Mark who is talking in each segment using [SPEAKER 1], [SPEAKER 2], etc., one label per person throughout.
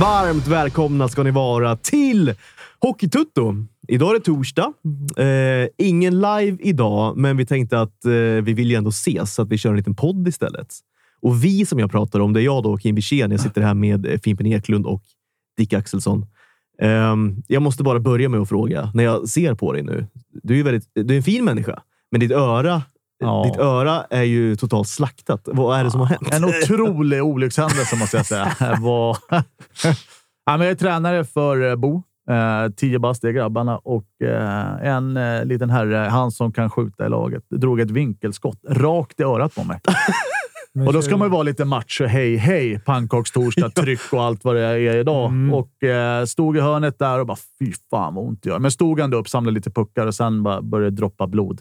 [SPEAKER 1] Varmt välkomna ska ni vara till Hockeytutto. Idag är det torsdag. Eh, ingen live idag, men vi tänkte att eh, vi vill ju ändå ses så att vi kör en liten podd istället. Och vi som jag pratar om, det är jag då, Kim Wirsén. Jag sitter här med eh, Fimpen Eklund och Dick Axelsson. Ehm, jag måste bara börja med att fråga, när jag ser på dig nu. Du är, ju väldigt, du är en fin människa, men ditt öra, eh,
[SPEAKER 2] Ja.
[SPEAKER 1] ditt öra är ju totalt slaktat. Vad är det som har hänt?
[SPEAKER 2] En otrolig olyckshändelse måste jag säga. Det var... ja, men jag är tränare för eh, Bo. Eh, tio bast är grabbarna och eh, en eh, liten herre, han som kan skjuta i laget, drog ett vinkelskott rakt i örat på mig. Och då ska man ju vara lite macho. Hej, hej! Pannkakstorsdag, tryck och allt vad det är idag.
[SPEAKER 3] Mm.
[SPEAKER 2] Och eh, stod i hörnet där och bara fy fan vad ont det gör. Men stod ändå upp, samlade lite puckar och sen bara började droppa blod.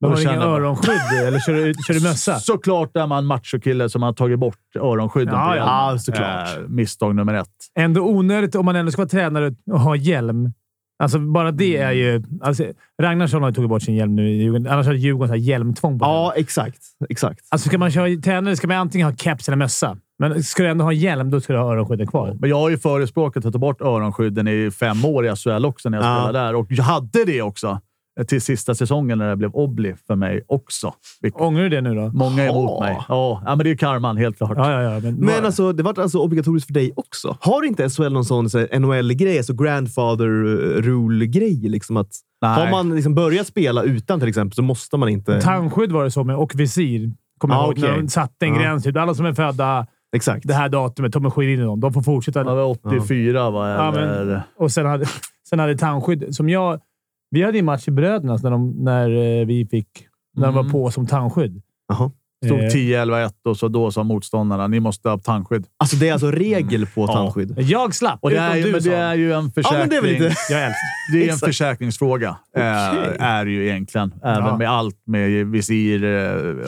[SPEAKER 3] Men har du
[SPEAKER 2] Då
[SPEAKER 3] inga
[SPEAKER 2] känner jag-
[SPEAKER 3] öronskydd eller kör du, kör du mössa?
[SPEAKER 2] Såklart är man machokille som har tagit bort öronskydden.
[SPEAKER 3] Ja,
[SPEAKER 2] på
[SPEAKER 3] ja.
[SPEAKER 2] hjälmen.
[SPEAKER 1] Ja, såklart.
[SPEAKER 2] Eh, misstag nummer ett.
[SPEAKER 3] Ändå onödigt om man ändå ska vara tränare och ha hjälm. Alltså bara det är ju... Alltså, Ragnarsson har ju tagit bort sin hjälm nu i Djurgården. Annars hade Djurgården så här hjälmtvång på den.
[SPEAKER 1] Ja, exakt. exakt.
[SPEAKER 3] Alltså ska man köra tränare ska man antingen ha caps eller mössa. Men ska du ändå ha hjälm, då ska du ha öronskydden kvar.
[SPEAKER 2] Men jag har ju förespråkat att ta bort öronskydden i fem år i SHL också när jag
[SPEAKER 1] Ja.
[SPEAKER 2] spelade där. Och jag hade det också eh, till sista säsongen när det blev obli för mig också. Vilket
[SPEAKER 3] Ångrar du det nu då?
[SPEAKER 2] många är emot
[SPEAKER 1] Ja.
[SPEAKER 2] mig. Ja, ja, men det är karman helt klart.
[SPEAKER 3] Ja, ja, ja. Men,
[SPEAKER 1] Men alltså, det vart alltså obligatoriskt för dig också? Har inte SHL någon sån så här, NHL-grej, alltså grandfather eh, rule-grej? Liksom att,
[SPEAKER 2] Nej.
[SPEAKER 1] har man liksom börjat spela utan till exempel så måste man inte...
[SPEAKER 3] Tandskydd Eh, var det så med och visir. Kommer jag
[SPEAKER 1] Ah,
[SPEAKER 3] ihåg när
[SPEAKER 1] okej.
[SPEAKER 3] de satte en
[SPEAKER 1] Ja.
[SPEAKER 3] gräns. Typ, alla som är födda
[SPEAKER 1] Exakt.
[SPEAKER 3] det här datumet, de är skiljer in dem. De får fortsätta.
[SPEAKER 2] Jag var 84 va?
[SPEAKER 3] Ja,
[SPEAKER 2] Eller...
[SPEAKER 3] men, och sen hade, sen hade tandskydd, som jag... Vi hade ju match i Brödernas när, de, när eh, vi fick... När de
[SPEAKER 2] Mm.
[SPEAKER 3] var på som tandskydd.
[SPEAKER 1] Jaha.
[SPEAKER 2] Stod
[SPEAKER 3] Eh,
[SPEAKER 2] 10, 11, 1 och så då sa motståndarna ni måste ha tandskydd.
[SPEAKER 1] Alltså, det är alltså regel på tandskydd.
[SPEAKER 3] Jag slapp,
[SPEAKER 2] Och det är, ju,
[SPEAKER 3] utom du
[SPEAKER 2] men
[SPEAKER 3] sa.
[SPEAKER 2] det är ju en
[SPEAKER 1] Ja,
[SPEAKER 2] försäkring.
[SPEAKER 1] men det är väl lite...
[SPEAKER 3] Jag älskar
[SPEAKER 2] Det är en
[SPEAKER 1] Exakt.
[SPEAKER 2] försäkringsfråga.
[SPEAKER 1] Okej.
[SPEAKER 2] Eh, är det ju egentligen. Även
[SPEAKER 3] Ja.
[SPEAKER 2] med allt med visir, eh,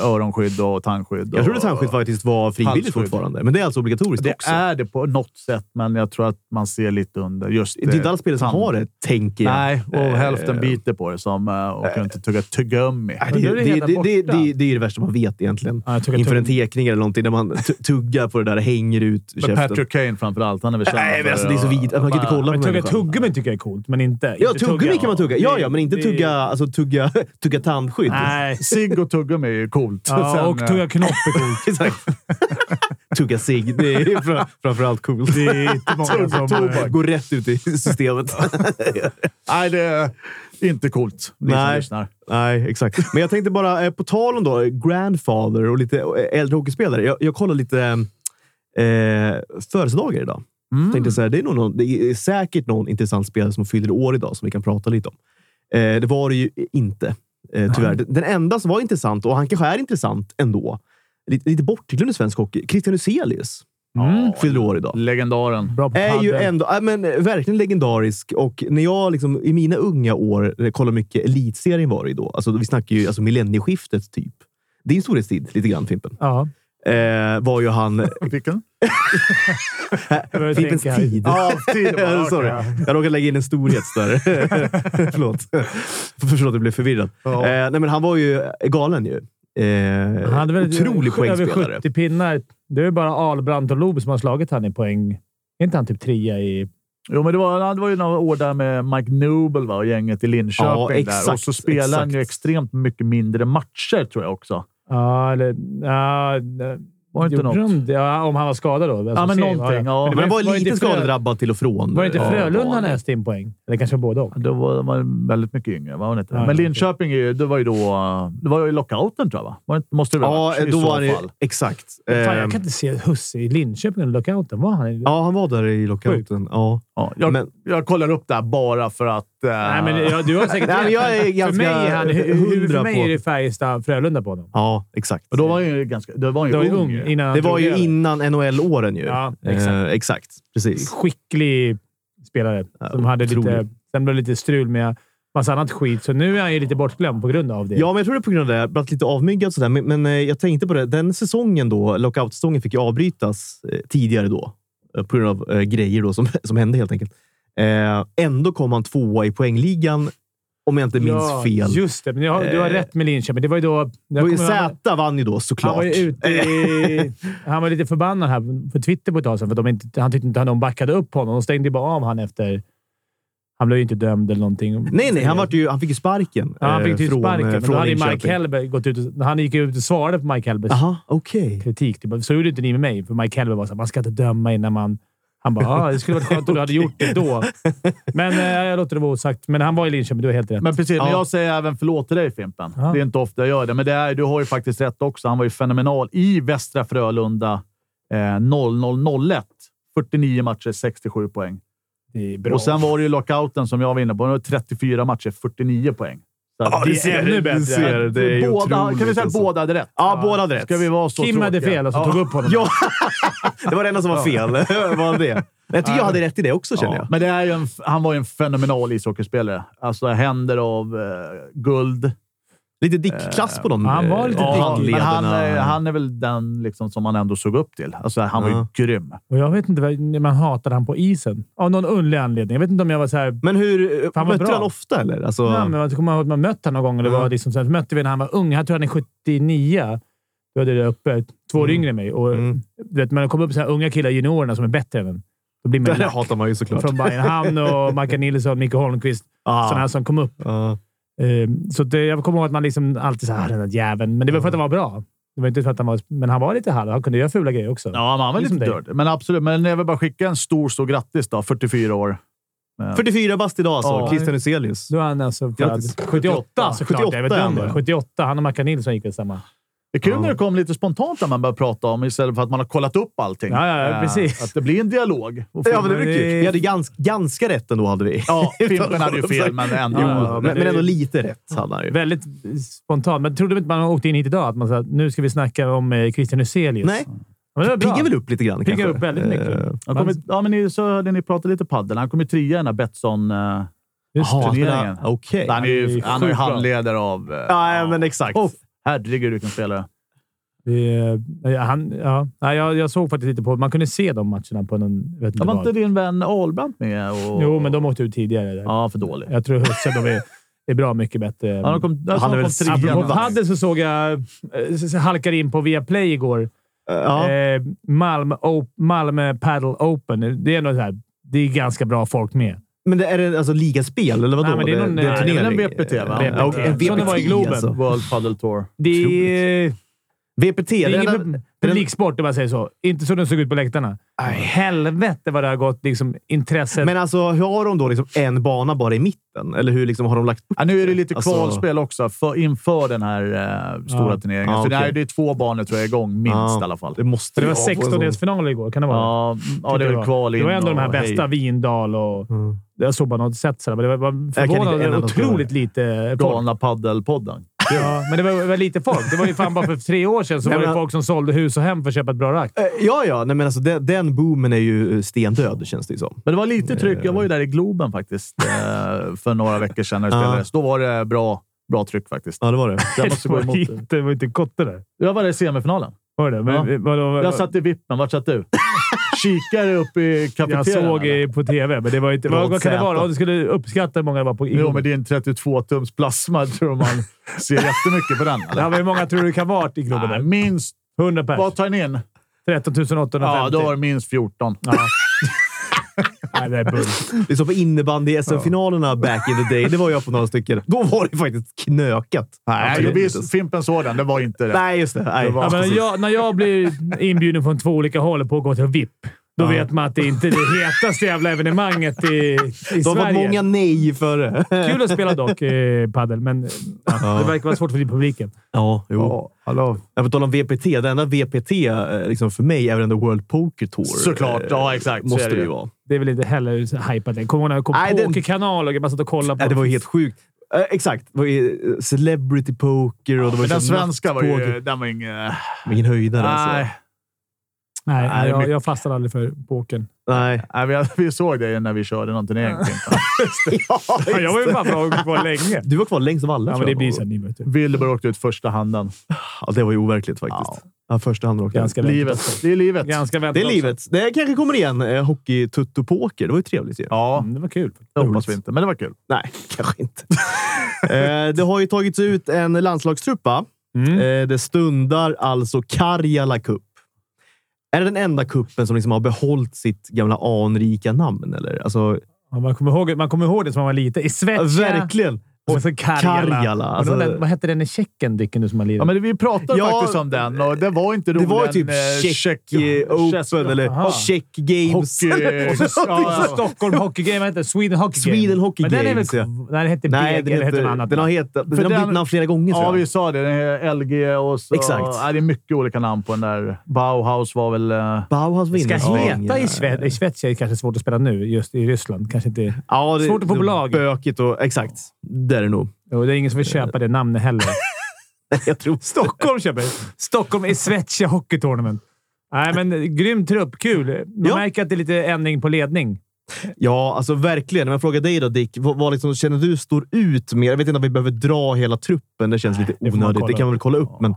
[SPEAKER 2] öronskydd och tandskydd.
[SPEAKER 1] Jag trodde
[SPEAKER 2] och-
[SPEAKER 1] tandskydd faktiskt var frivilligt
[SPEAKER 2] Halsskydd.
[SPEAKER 1] fortfarande, men det är alltså obligatoriskt
[SPEAKER 2] Det
[SPEAKER 1] också.
[SPEAKER 2] är det på något sätt, men jag tror att man ser lite under. Just
[SPEAKER 1] Det är inte alla spelare som
[SPEAKER 2] tand-
[SPEAKER 1] har det, tänker jag.
[SPEAKER 2] Nej, och
[SPEAKER 1] Eh,
[SPEAKER 2] hälften biter på det som eh, och kan inte tugga tuggummi.
[SPEAKER 1] Nej,
[SPEAKER 3] Men nu
[SPEAKER 1] Det,
[SPEAKER 3] är det
[SPEAKER 1] det,
[SPEAKER 3] hela
[SPEAKER 1] det, det,
[SPEAKER 3] borta.
[SPEAKER 1] det, det är det värsta man vet egentligen.
[SPEAKER 3] Ja, jag tycker att
[SPEAKER 1] Inför
[SPEAKER 3] tugg-
[SPEAKER 1] en tekning eller någonting, där man tu- tuggar på det där och hänger ut
[SPEAKER 2] Men
[SPEAKER 1] käften.
[SPEAKER 2] Patrick Kane framför allt. Han är väl känd
[SPEAKER 1] Nej, men
[SPEAKER 2] för
[SPEAKER 1] alltså det är så
[SPEAKER 2] att-
[SPEAKER 1] vidrigt. Man kan inte kolla på
[SPEAKER 3] Men tugga
[SPEAKER 1] människan.
[SPEAKER 3] tuggummi tycker jag är coolt, men inte...
[SPEAKER 1] Ja,
[SPEAKER 3] inte
[SPEAKER 1] tuggummi kan man tugga. Ja, ja, men inte
[SPEAKER 3] Det-
[SPEAKER 1] tugga, alltså, tugga, tugga tandskydd.
[SPEAKER 3] Nej.
[SPEAKER 2] Cigg och tuggummi är ju coolt. Sen,
[SPEAKER 3] Ja, och
[SPEAKER 2] eh,
[SPEAKER 3] tugga knopp är coolt.
[SPEAKER 1] Exakt. tugga cigg. Det är fra- framförallt coolt.
[SPEAKER 3] Det är inte många som... eh,
[SPEAKER 1] Tobak går rätt ut i systemet.
[SPEAKER 2] Nej, det är inte coolt. Ni som
[SPEAKER 1] Nej.
[SPEAKER 2] lyssnar.
[SPEAKER 1] Nej, exakt. Men jag tänkte bara, eh, på tal om då, eh, grandfather och lite eh, äldre hockeyspelare. Jag, jag kollade lite eh, födelsedagar idag. Tänkte så här, det, är nog någon, det är säkert någon intressant spelare som fyller år idag som vi kan prata lite om. Eh, det var det ju inte, eh, tyvärr. Den- Den enda som var intressant, och han kanske är intressant ändå, lite, lite bortglömd i svensk hockey, Christian Hyselius
[SPEAKER 2] Ja,
[SPEAKER 1] fyller år idag.
[SPEAKER 2] Legendaren.
[SPEAKER 3] Bra på
[SPEAKER 1] Är ju
[SPEAKER 3] padel.
[SPEAKER 1] ändå äh, men, eh, verkligen legendarisk. Och när jag liksom, i mina unga år eh, kollade mycket Elitserien var det ju då. Alltså, vi snackar ju alltså, millennieskiftet, typ. Din storhetstid, lite grann Fimpen,
[SPEAKER 3] Ja,
[SPEAKER 1] eh, var ju han...
[SPEAKER 2] Vilken?
[SPEAKER 3] jag börjar
[SPEAKER 1] Fimpens
[SPEAKER 3] tänka här.
[SPEAKER 1] tid.
[SPEAKER 2] Ja,
[SPEAKER 1] Eh,
[SPEAKER 2] tiden.
[SPEAKER 1] Sorry. Jag råkade lägga in en storhet där. Förlåt. Jag förstår att jag blev förvirrad.
[SPEAKER 2] Ja.
[SPEAKER 1] Eh, nej, men han var ju galen ju. Eh,
[SPEAKER 3] Han hade väl
[SPEAKER 1] otrolig
[SPEAKER 3] över
[SPEAKER 1] poängspelare.
[SPEAKER 3] 70 pinnar. Det är ju bara Ahlbrandt och Loob som har slagit han i poäng. Är inte han typ trea i...
[SPEAKER 2] Jo, men det var, det var ju några år där med Mike Noble va, och gänget i Linköping.
[SPEAKER 1] Ja,
[SPEAKER 2] där. Och
[SPEAKER 1] exakt,
[SPEAKER 2] så spelade han ju
[SPEAKER 1] exakt.
[SPEAKER 2] extremt mycket mindre matcher, tror jag också.
[SPEAKER 3] Ja, eller... Ja,
[SPEAKER 2] Var det inte något?
[SPEAKER 3] något? Ja, om han var skadad då. Alltså,
[SPEAKER 2] Ja, men
[SPEAKER 3] säg-
[SPEAKER 2] någonting. Ja.
[SPEAKER 3] Men
[SPEAKER 1] Men han var,
[SPEAKER 3] var
[SPEAKER 1] lite
[SPEAKER 3] det inte Frö-
[SPEAKER 1] skadedrabbad till och från.
[SPEAKER 3] Var det inte
[SPEAKER 1] Eh,
[SPEAKER 3] Frölunda han öste in poäng? Eller kanske båda och.
[SPEAKER 2] Då var man väldigt mycket yngre. Var man inte?
[SPEAKER 3] Ja,
[SPEAKER 2] men
[SPEAKER 3] okej.
[SPEAKER 2] Linköping är ju- det var ju då... Det var ju lockouten, tror jag. Va? Var det, inte- måste det väl ha
[SPEAKER 1] Ja,
[SPEAKER 2] varit, i
[SPEAKER 1] då
[SPEAKER 2] så
[SPEAKER 1] var han ju...
[SPEAKER 2] fall.
[SPEAKER 1] Exakt.
[SPEAKER 3] Fan,
[SPEAKER 1] Ehm,
[SPEAKER 3] jag kan inte se Husse i Linköping under lockouten. Var han i-
[SPEAKER 1] Ja, han var där i lockouten. Ja.
[SPEAKER 2] Ja, jag,
[SPEAKER 1] Men-
[SPEAKER 2] jag kollar upp det här bara för att... eh,
[SPEAKER 3] Nej, men jag, du har säkert
[SPEAKER 1] Nej, men jag är ganska
[SPEAKER 3] För mig är, han, hu- hu-
[SPEAKER 1] hundra
[SPEAKER 3] för mig
[SPEAKER 1] på-
[SPEAKER 3] är det Färjestad-Frölunda på honom.
[SPEAKER 1] ja, exakt.
[SPEAKER 2] och då var han ju ganska... Då var han ju
[SPEAKER 3] Det var ju
[SPEAKER 2] ung.
[SPEAKER 3] ung
[SPEAKER 2] ju.
[SPEAKER 3] innan han
[SPEAKER 1] det var
[SPEAKER 3] drog
[SPEAKER 1] ju
[SPEAKER 3] över.
[SPEAKER 1] innan NHL-åren ju.
[SPEAKER 3] Ja,
[SPEAKER 1] exakt.
[SPEAKER 3] exakt.
[SPEAKER 1] Eh, exakt. Precis.
[SPEAKER 3] skicklig spelare
[SPEAKER 1] Eh, Ja,
[SPEAKER 3] som hade lite,
[SPEAKER 1] otrolig.
[SPEAKER 3] sen blev det lite strul med massa annat skit, så nu är han ju lite bortglömd på grund av det.
[SPEAKER 1] Ja, men jag tror det är på grund av det. Jag blev lite avmyggad och sådär. Men, men eh, jag tänkte på det. Den säsongen då, lockout-säsongen, fick ju avbrytas eh, tidigare då. eh, På grund av eh, grejer då som, som hände helt enkelt. Eh, ändå kom han tvåa i poängligan om jag inte minns
[SPEAKER 3] ja,
[SPEAKER 1] fel.
[SPEAKER 3] Just det. Men jag, har- du har
[SPEAKER 1] Eh,
[SPEAKER 3] rätt med Linköping. Det var ju då...
[SPEAKER 1] Det
[SPEAKER 3] jag
[SPEAKER 1] var ju
[SPEAKER 3] kommer ihåg-
[SPEAKER 1] Zäta vann ju då såklart.
[SPEAKER 3] Han var ju ute i, Han var lite förbannad här på Twitter på ett tag sedan, för de inte, han tyckte inte att någon backade upp honom. De stängde ju bara av han efter... Han blev ju inte dömd eller någonting.
[SPEAKER 1] Nej, nej. Han, vart ju, han fick ju sparken.
[SPEAKER 3] ja, han
[SPEAKER 1] eh,
[SPEAKER 3] fick ju
[SPEAKER 1] från,
[SPEAKER 3] sparken, men
[SPEAKER 1] från
[SPEAKER 3] då hade ju Mike
[SPEAKER 1] Linköping.
[SPEAKER 3] Helber gått ut och, Han gick ju ut och svarade på Mike Helbers
[SPEAKER 1] Aha, okej.
[SPEAKER 3] kritik. Typ. Så gjorde inte ni med mig, för Mike Helber var såhär, man ska inte döma innan man... Han bara, ah, det skulle varit skönt om du hade gjort det då. Men eh, jag låter det vara osagt. Men han var i Linköping, du har helt rätt.
[SPEAKER 2] Men precis, men
[SPEAKER 1] Ja.
[SPEAKER 2] jag säger även förlåt till dig Fimpen.
[SPEAKER 3] Ja.
[SPEAKER 2] Det är inte ofta jag gör det, men det är, du har ju faktiskt rätt också. Han var ju fenomenal i Västra Frölunda eh, 00-01. 49 matcher, 67 poäng.
[SPEAKER 3] det är bra.
[SPEAKER 2] Och sen var det ju lockouten som jag var inne på. Det var 34 matcher, 49 poäng. Så att
[SPEAKER 1] Ja,
[SPEAKER 3] det
[SPEAKER 1] du
[SPEAKER 3] är
[SPEAKER 1] ser,
[SPEAKER 3] ännu
[SPEAKER 1] du
[SPEAKER 3] bättre.
[SPEAKER 1] ser, det är
[SPEAKER 2] båda,
[SPEAKER 1] otroligt
[SPEAKER 2] kan vi säga att
[SPEAKER 1] alltså.
[SPEAKER 2] båda hade rätt?
[SPEAKER 1] Ja, båda hade rätt.
[SPEAKER 2] Ska vi vara så
[SPEAKER 3] Kim hade
[SPEAKER 2] tråkiga?
[SPEAKER 3] fel och så tog upp honom.
[SPEAKER 1] Ja, det var det enda som var fel. var det. Men jag tycker jag hade rätt i det också, känner
[SPEAKER 2] Ja,
[SPEAKER 1] jag.
[SPEAKER 2] Men det är ju en, han var ju en fenomenal ishockeyspelare. Alltså händer av eh, guld.
[SPEAKER 1] Lite dickklass på de
[SPEAKER 3] han var lite
[SPEAKER 1] eh,
[SPEAKER 3] dick. eh,
[SPEAKER 2] Ja, men
[SPEAKER 1] handlederna.
[SPEAKER 2] han, är- han är väl den liksom som man ändå såg upp till. Alltså, han var ju
[SPEAKER 1] Ja.
[SPEAKER 2] grym.
[SPEAKER 3] Och jag vet inte, vad- man hatade han på isen. Av någon underlig anledning. Jag vet inte om jag var så här...
[SPEAKER 1] Men hur...
[SPEAKER 3] Fan, vad
[SPEAKER 1] mötte
[SPEAKER 3] bra.
[SPEAKER 1] han ofta, eller? Alltså,
[SPEAKER 3] Nej, men jag kommer ihåg att man mött honom någon gång. och Det var
[SPEAKER 1] Ja.
[SPEAKER 3] liksom så här, så mötte vi när han var ung. Han tror han är 79. Då hade det uppe. Två år yngre än mig. Och,
[SPEAKER 1] Mm.
[SPEAKER 3] du vet, man kommer upp så här unga killar, juniorerna, som är bättre än en. Då blir man
[SPEAKER 1] det
[SPEAKER 3] lack.
[SPEAKER 1] hatar man ju såklart.
[SPEAKER 3] Från Bayernhamn och Mackan Nilsson, Micke Holmqvist.
[SPEAKER 1] Ja.
[SPEAKER 3] Sådana här som kom upp.
[SPEAKER 1] Ja.
[SPEAKER 3] Ehm, Så det, jag kommer ihåg att man liksom alltid så här, den där jäveln. Men det var för att han var bra. Det var inte för att han var... Men han var lite halv. Han kunde göra fula grejer också.
[SPEAKER 2] Ja, men han var
[SPEAKER 3] Liksom
[SPEAKER 2] lite
[SPEAKER 3] dig.
[SPEAKER 2] dörd. Men absolut. Men jag vill bara skicka en stor, stor grattis då. 44 år.
[SPEAKER 1] 44 bast idag alltså.
[SPEAKER 2] Ja.
[SPEAKER 1] Christian Hyselius.
[SPEAKER 3] Då är han alltså född
[SPEAKER 1] Grattis.
[SPEAKER 3] 78 såklart.
[SPEAKER 1] 78
[SPEAKER 3] Alltså, jag vet inte om
[SPEAKER 1] är han
[SPEAKER 3] det.
[SPEAKER 1] då.
[SPEAKER 3] 78. Han och Mackan Nilsson gick väl samma.
[SPEAKER 2] Det är kul
[SPEAKER 1] Ja.
[SPEAKER 2] när det kom lite spontant när man börjar prata om istället för att man har kollat upp allting.
[SPEAKER 3] Ja, ja, ja,
[SPEAKER 2] Eh,
[SPEAKER 3] precis.
[SPEAKER 2] Att det blir en dialog. Och
[SPEAKER 1] Ja, men det
[SPEAKER 3] Men
[SPEAKER 1] blir
[SPEAKER 3] det-
[SPEAKER 1] kul. Vi hade ganska, ganska rätt ändå, hade vi.
[SPEAKER 2] Ja, Fimpen hade ju fel, men ändå.
[SPEAKER 1] Jo,
[SPEAKER 3] Ja, men
[SPEAKER 1] men,
[SPEAKER 3] det-
[SPEAKER 1] men ändå lite rätt hade han ju.
[SPEAKER 3] Väldigt spontant. Men trodde du inte man åkte in hit idag? Att man sa att nu ska vi snacka om eh, Christian Hyselius.
[SPEAKER 1] Nej,
[SPEAKER 3] Men det var bra.
[SPEAKER 1] piggar väl upp lite grann
[SPEAKER 3] Piggar
[SPEAKER 1] kanske.
[SPEAKER 3] upp väldigt mycket.
[SPEAKER 1] Eh,
[SPEAKER 2] Han kom i- ja, men ni, så hörde ni prata lite paddel. Han kom ju trea i den här Betsson... eh,
[SPEAKER 3] Just
[SPEAKER 1] jaha,
[SPEAKER 3] det.
[SPEAKER 2] turneringen.
[SPEAKER 1] Okej.
[SPEAKER 2] han, är ju,
[SPEAKER 3] sjukt
[SPEAKER 2] han är ju
[SPEAKER 3] bra.
[SPEAKER 2] handledare av... eh,
[SPEAKER 1] Nej, men exakt.
[SPEAKER 2] Oh, herregud vilken spelare.
[SPEAKER 3] Det, eh, han, ja. Nej, jag, jag såg faktiskt lite på... Man kunde se de matcherna på någon... Vet inte
[SPEAKER 2] Ja, var
[SPEAKER 3] var.
[SPEAKER 2] inte din vän Ahlbrandt med? Och,
[SPEAKER 3] Jo, men de åkte ut tidigare. Där.
[SPEAKER 2] Ja, för dålig.
[SPEAKER 3] Jag tror Husse de är, är bra mycket bättre.
[SPEAKER 2] Ja, de kom,
[SPEAKER 1] Han är väl
[SPEAKER 2] alltså, de kom
[SPEAKER 1] trea
[SPEAKER 3] Apropå
[SPEAKER 1] vass.
[SPEAKER 2] trea.
[SPEAKER 3] padel så såg jag... eh, så- så halkade in på Viaplay igår.
[SPEAKER 1] Ja.
[SPEAKER 3] Eh, Malmö, o- Malmö Paddle Open. Det är, ändå så här, det är ganska bra folk med.
[SPEAKER 1] Men det är det alltså ligaspel, eller vadå?
[SPEAKER 3] Nej, men det är någon-
[SPEAKER 1] en
[SPEAKER 3] nej, det är väl
[SPEAKER 1] turnering?
[SPEAKER 2] en VPT, va?
[SPEAKER 1] Ja, okej, en
[SPEAKER 3] VPT,
[SPEAKER 1] VPT,
[SPEAKER 3] som det var i Globen.
[SPEAKER 1] Alltså.
[SPEAKER 2] World Padel Tour.
[SPEAKER 3] Det är, eh,
[SPEAKER 1] VPT,
[SPEAKER 3] det
[SPEAKER 1] det
[SPEAKER 3] är ingen
[SPEAKER 1] är
[SPEAKER 3] pub- publiksport om man säger så. Inte så den såg ut på läktarna. Helvete vad det har gått liksom, intresset.
[SPEAKER 1] Men alltså, hur har de då liksom en bana bara i mitten? Eller hur liksom har de lagt upp?
[SPEAKER 2] Ja, nu är det lite
[SPEAKER 1] Alltså-
[SPEAKER 2] kvalspel också för, inför den här eh, stora
[SPEAKER 3] Ja.
[SPEAKER 2] turneringen.
[SPEAKER 1] Ja,
[SPEAKER 2] Så det, här,
[SPEAKER 1] okej.
[SPEAKER 2] det är två banor tror jag igång, minst
[SPEAKER 1] Ja.
[SPEAKER 2] i alla fall.
[SPEAKER 1] Det måste
[SPEAKER 3] det var
[SPEAKER 1] ju vara på en sån-
[SPEAKER 3] 16-delsfinaler igår. Kan det vara?
[SPEAKER 2] Ja, ja, det är väl kval in
[SPEAKER 3] Det var ändå de här
[SPEAKER 2] och
[SPEAKER 3] bästa.
[SPEAKER 2] hej.
[SPEAKER 3] Vindal och...
[SPEAKER 1] Mm.
[SPEAKER 3] Jag såg bara något sätt sådär, men det var- var
[SPEAKER 1] kan inte en
[SPEAKER 3] förvånande
[SPEAKER 1] enda
[SPEAKER 3] otroligt lite eh, folk.
[SPEAKER 2] Galna paddelpodden.
[SPEAKER 3] Ja, men det var, det var lite folk. Det var ju fan bara för tre år sedan så
[SPEAKER 1] Nej,
[SPEAKER 3] var det
[SPEAKER 1] men-
[SPEAKER 3] folk som sålde hus och hem för att köpa ett bra rack.
[SPEAKER 1] Eh, Ja, ja. Nej, men alltså, den, den boomen är ju eh, stendöd, känns det ju som.
[SPEAKER 2] Men det var lite tryck. Jag var ju där i Globen faktiskt eh, för några veckor sedan när det
[SPEAKER 1] Ja.
[SPEAKER 2] spelades. Då var det bra, bra tryck faktiskt.
[SPEAKER 1] Ja, det var det.
[SPEAKER 2] Jag måste gå
[SPEAKER 3] var
[SPEAKER 2] emot det.
[SPEAKER 3] inte, det var inte kotte där.
[SPEAKER 2] Jag var där i semifinalen.
[SPEAKER 3] Var det? Men,
[SPEAKER 2] Ja.
[SPEAKER 3] vadå, vadå?
[SPEAKER 2] Jag satt i vippen. Vart satt du? Kikade upp i
[SPEAKER 3] jag
[SPEAKER 2] kafeterian.
[SPEAKER 3] såg
[SPEAKER 2] eller?
[SPEAKER 3] i- på tv, men det var inte... Vad, vad kan det
[SPEAKER 2] Rådsäta.
[SPEAKER 3] vara? Om Du skulle uppskatta hur många det var på...
[SPEAKER 2] Jo, men din 32-tums plasma tror man ser jättemycket på den. eller?
[SPEAKER 3] Ja, men hur många tror du det kan vara i klubben?
[SPEAKER 2] Nej,
[SPEAKER 3] där?
[SPEAKER 2] minst...
[SPEAKER 3] 100 pers.
[SPEAKER 2] Vad tar den in?
[SPEAKER 3] 13 850.
[SPEAKER 2] Ja, då var det minst 14.
[SPEAKER 3] Nej, det är bull.
[SPEAKER 1] Det är som på innebandy i SM-finalerna back in the day. Det var jag på några stycken. Då var det faktiskt knökat.
[SPEAKER 2] Nej,
[SPEAKER 1] Absolut inte.
[SPEAKER 2] visst, Fimpen såg den. Det var inte det.
[SPEAKER 1] Nej, just det. Nej.
[SPEAKER 2] Det var-
[SPEAKER 3] Ja, men
[SPEAKER 2] precis.
[SPEAKER 3] jag, när jag blir inbjuden från två olika håll på att gå till VIP, då
[SPEAKER 1] Ja.
[SPEAKER 3] vet man att det inte är det hetaste jävla evenemanget i, i
[SPEAKER 1] De har fått
[SPEAKER 3] Sverige.
[SPEAKER 1] många nej för det.
[SPEAKER 3] Kul att spela dock, eh, padel, men eh,
[SPEAKER 1] Ja.
[SPEAKER 3] det verkar vara svårt för publiken.
[SPEAKER 1] Ja, jo.
[SPEAKER 2] Ja, hallå.
[SPEAKER 1] Jag på tal om VPT. Det enda VPT eh, liksom för mig är väl ändå World Poker Tour.
[SPEAKER 2] Såklart.
[SPEAKER 1] Eh,
[SPEAKER 2] Ja, exajt. Så är
[SPEAKER 1] Måste
[SPEAKER 2] det
[SPEAKER 1] det ju
[SPEAKER 2] ju.
[SPEAKER 1] vara.
[SPEAKER 3] Det är väl inte heller så hypat än. Kommer du ihåg när det kom
[SPEAKER 1] Nej, det-
[SPEAKER 3] pokerkanal och man satt och kollade på?
[SPEAKER 1] Nej, det var ju helt sjukt. Eh, exakt. Det var ju eh, Celebrity Poker och det var
[SPEAKER 2] Men
[SPEAKER 1] ju
[SPEAKER 2] den
[SPEAKER 1] sån
[SPEAKER 2] svenska var ju...
[SPEAKER 1] nattpoker.
[SPEAKER 2] Den var ingen...
[SPEAKER 1] Vilken höjdare alltså.
[SPEAKER 2] Nej,
[SPEAKER 3] Nej,
[SPEAKER 2] Nej, det är
[SPEAKER 3] jag,
[SPEAKER 2] mycket-
[SPEAKER 3] jag fastnade aldrig för pokern.
[SPEAKER 1] Nej.
[SPEAKER 2] nej vi, vi såg det när vi körde någon turnering. Fimpen.
[SPEAKER 1] Ja,
[SPEAKER 3] Ja, jag var ju
[SPEAKER 1] just det.
[SPEAKER 3] fan bra på länge.
[SPEAKER 1] Du var kvar längst av alla.
[SPEAKER 3] Ja,
[SPEAKER 1] tror
[SPEAKER 3] men det
[SPEAKER 1] jag.
[SPEAKER 3] blir sen ni möter.
[SPEAKER 2] Wilbur åkte ut första handen.
[SPEAKER 1] Ja, det var ju overkligt faktiskt.
[SPEAKER 2] Ja.
[SPEAKER 1] Ja, första hand rakt
[SPEAKER 3] Ganska
[SPEAKER 1] ut.
[SPEAKER 3] väntat.
[SPEAKER 2] Livet. Det är livet.
[SPEAKER 3] Ganska väntat
[SPEAKER 1] Det är
[SPEAKER 3] också.
[SPEAKER 1] livet. Det kanske kommer igen. Eh, hockey, tutto, poker. Det var ju trevligt ju.
[SPEAKER 2] Ja,
[SPEAKER 3] Mm, det var kul.
[SPEAKER 2] det hoppas vi inte, men det var kul.
[SPEAKER 1] Nej, kanske inte. eh, det har ju tagits ut en landslagstruppa.
[SPEAKER 3] Mm.
[SPEAKER 1] Eh, det stundar alltså Karjala Cup. Är det den enda kuppen som liksom har behållit sitt gamla anrika namn? Eller? Alltså,
[SPEAKER 3] Ja, man, kommer ihåg, man kommer ihåg det som man var liten. I Svetja.
[SPEAKER 1] Verkligen!
[SPEAKER 3] Och så Karjala.
[SPEAKER 1] Karjala,
[SPEAKER 3] Och
[SPEAKER 1] alltså-
[SPEAKER 3] den, vad hette den i Tjeckien, Dicken, du som har lidit?
[SPEAKER 2] Ja, men vi pratade
[SPEAKER 1] Ja,
[SPEAKER 2] faktiskt om den och det var inte eh,
[SPEAKER 1] Det
[SPEAKER 2] roligt.
[SPEAKER 1] var ju typ Czech Open
[SPEAKER 3] aha.
[SPEAKER 1] eller Czech Games.
[SPEAKER 2] Hockey.
[SPEAKER 1] eller någonting
[SPEAKER 3] Ja,
[SPEAKER 1] sånt.
[SPEAKER 3] Stockholm Hockey Game. Vad hette det? Sweden Hockey Game.
[SPEAKER 1] Sweden Hockey
[SPEAKER 3] Men den är väl...
[SPEAKER 1] Games, ja.
[SPEAKER 3] Nej, den hette
[SPEAKER 1] Nej,
[SPEAKER 3] Nej,
[SPEAKER 1] den,
[SPEAKER 3] eller hette
[SPEAKER 1] heter,
[SPEAKER 3] något annat
[SPEAKER 1] den har,
[SPEAKER 3] namn.
[SPEAKER 1] hetat, den
[SPEAKER 2] För
[SPEAKER 1] har
[SPEAKER 2] den-
[SPEAKER 1] bytt namn flera gånger.
[SPEAKER 2] Ja,
[SPEAKER 1] tror
[SPEAKER 2] vi
[SPEAKER 1] jag.
[SPEAKER 2] sa det. Den är LG och så...
[SPEAKER 1] Exakt.
[SPEAKER 2] Ja, det är mycket olika namn på den där. Bauhaus var väl... eh,
[SPEAKER 1] Bauhaus
[SPEAKER 3] Ska
[SPEAKER 1] vinner.
[SPEAKER 3] heta i Svet- i Svetja är det kanske svårt att spela nu, just i Ryssland. Kanske inte...
[SPEAKER 1] Ja, det,
[SPEAKER 3] Svårt att få
[SPEAKER 1] det är
[SPEAKER 3] bolag.
[SPEAKER 1] Bökigt och... Exakt. Det är det nog.
[SPEAKER 3] Och det är ingen som vill köpa det namnet heller.
[SPEAKER 1] Jag tror
[SPEAKER 3] Stockholm köper det. Stockholm i Svetja Hockey Tournament. Nej, men grym trupp. Kul. Man
[SPEAKER 1] Ja.
[SPEAKER 3] märker att det är lite ändring på ledning.
[SPEAKER 1] Ja, alltså verkligen. Om jag frågar dig då, Dick. Vad, vad liksom, känner du står ut mer? Jag vet inte om vi behöver dra hela truppen. Det känns
[SPEAKER 3] Nej, det
[SPEAKER 1] lite
[SPEAKER 3] får man
[SPEAKER 1] onödigt. Det
[SPEAKER 3] kolla
[SPEAKER 1] kan vi väl kolla upp. Men,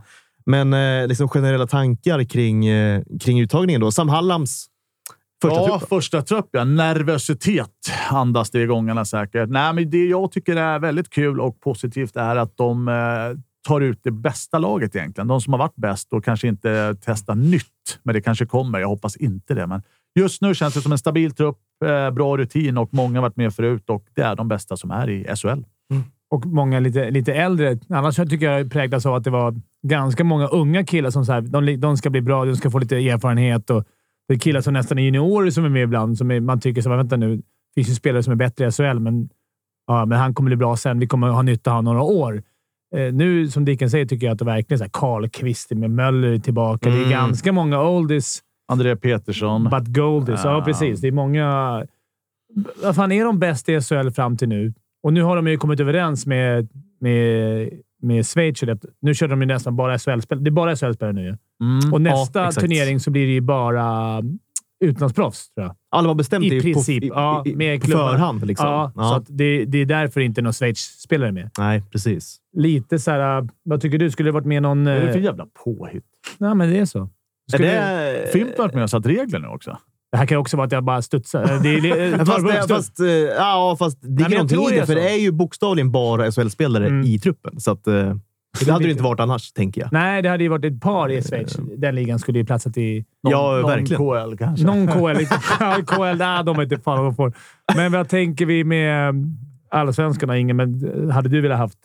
[SPEAKER 1] men eh, liksom generella tankar kring, eh, kring uttagningen då. Sam Hallams första
[SPEAKER 2] ja,
[SPEAKER 1] trupp. då.
[SPEAKER 2] första trupp. Ja. Nervositet andas det i gångarna säkert. Nej, men det jag tycker är väldigt kul och positivt är att de eh, tar ut det bästa laget egentligen. De som har varit bäst och kanske inte testar nytt, men det kanske kommer. Jag hoppas inte det, men just nu känns det som en stabil trupp, eh, bra rutin och många har varit med förut och det är de bästa som är i SHL.
[SPEAKER 3] och många lite, lite äldre. Annars så tycker jag det präglas av att det var ganska många unga killar som så här, de, de ska bli bra, de ska få lite erfarenhet. Och det är killar som nästan är juniorer som är med ibland. Som är, man tycker så här, vänta nu, det finns ju spelare som är bättre i SHL, men, ja, men han kommer bli bra sen. Vi kommer ha nytta av honom några år. Eh, nu, som Dicken säger, tycker jag att det verkligen är så här, Karlqvist med Möller är tillbaka. Det
[SPEAKER 1] Mm.
[SPEAKER 3] är ganska många oldies.
[SPEAKER 2] André Petersson.
[SPEAKER 3] But Goldis. Ja,
[SPEAKER 2] Ah.
[SPEAKER 3] precis. Det är många... Vad fan, är de bäst i SHL fram till nu? Och nu har de ju kommit överens med, med, med Schweiz. Att nu kör de ju nästan bara SHL-spel. Det är bara SHL-spelare nu ju.
[SPEAKER 2] Mm.
[SPEAKER 3] Och nästa
[SPEAKER 1] ja, exakt.
[SPEAKER 3] turnering så blir det ju bara mm, utlandsproffs, tror jag.
[SPEAKER 1] Alla var bestämt
[SPEAKER 3] I
[SPEAKER 1] det ju
[SPEAKER 3] princip,
[SPEAKER 1] på, i,
[SPEAKER 3] ja,
[SPEAKER 1] i, i,
[SPEAKER 3] med
[SPEAKER 1] på
[SPEAKER 3] klubbarna.
[SPEAKER 1] förhand. Liksom.
[SPEAKER 3] Ja, Så att det, det är därför inte någon Schweiz-spelare är med.
[SPEAKER 1] Nej, precis.
[SPEAKER 3] Lite så här... äh, Vad tycker du? Skulle det varit med någon...
[SPEAKER 2] Vad är det för
[SPEAKER 3] eh,
[SPEAKER 2] jävla påhitt?
[SPEAKER 3] Nej, men det är så.
[SPEAKER 1] Är
[SPEAKER 3] Skulle, det...
[SPEAKER 1] det...
[SPEAKER 2] Fimpen har varit med och satt regler nu också.
[SPEAKER 3] det här kan ju också vara att jag bara studsar. Eh, Det är, eh,
[SPEAKER 1] Fast, det,
[SPEAKER 3] Torborg-
[SPEAKER 1] fast, eh, ja, fast det
[SPEAKER 3] men
[SPEAKER 1] ligger
[SPEAKER 3] jag
[SPEAKER 1] någonting i
[SPEAKER 3] tror det
[SPEAKER 1] det,
[SPEAKER 3] är
[SPEAKER 1] för
[SPEAKER 3] så.
[SPEAKER 1] det är ju bokstavligen bara SHL-spelare
[SPEAKER 3] Mm.
[SPEAKER 1] i truppen. Så att, eh, det hade det inte varit annars, tänker jag.
[SPEAKER 3] Nej, det hade ju varit ett par i Schweiz. Den ligan skulle ju platsat i
[SPEAKER 1] ja,
[SPEAKER 2] någon
[SPEAKER 1] verkligen.
[SPEAKER 2] KL kanske.
[SPEAKER 3] någon KL. Ja, KL, nej, de är inte fan vad de får. Men vad tänker vi med eh, allsvenskarna? Ingen, men eh, hade du velat haft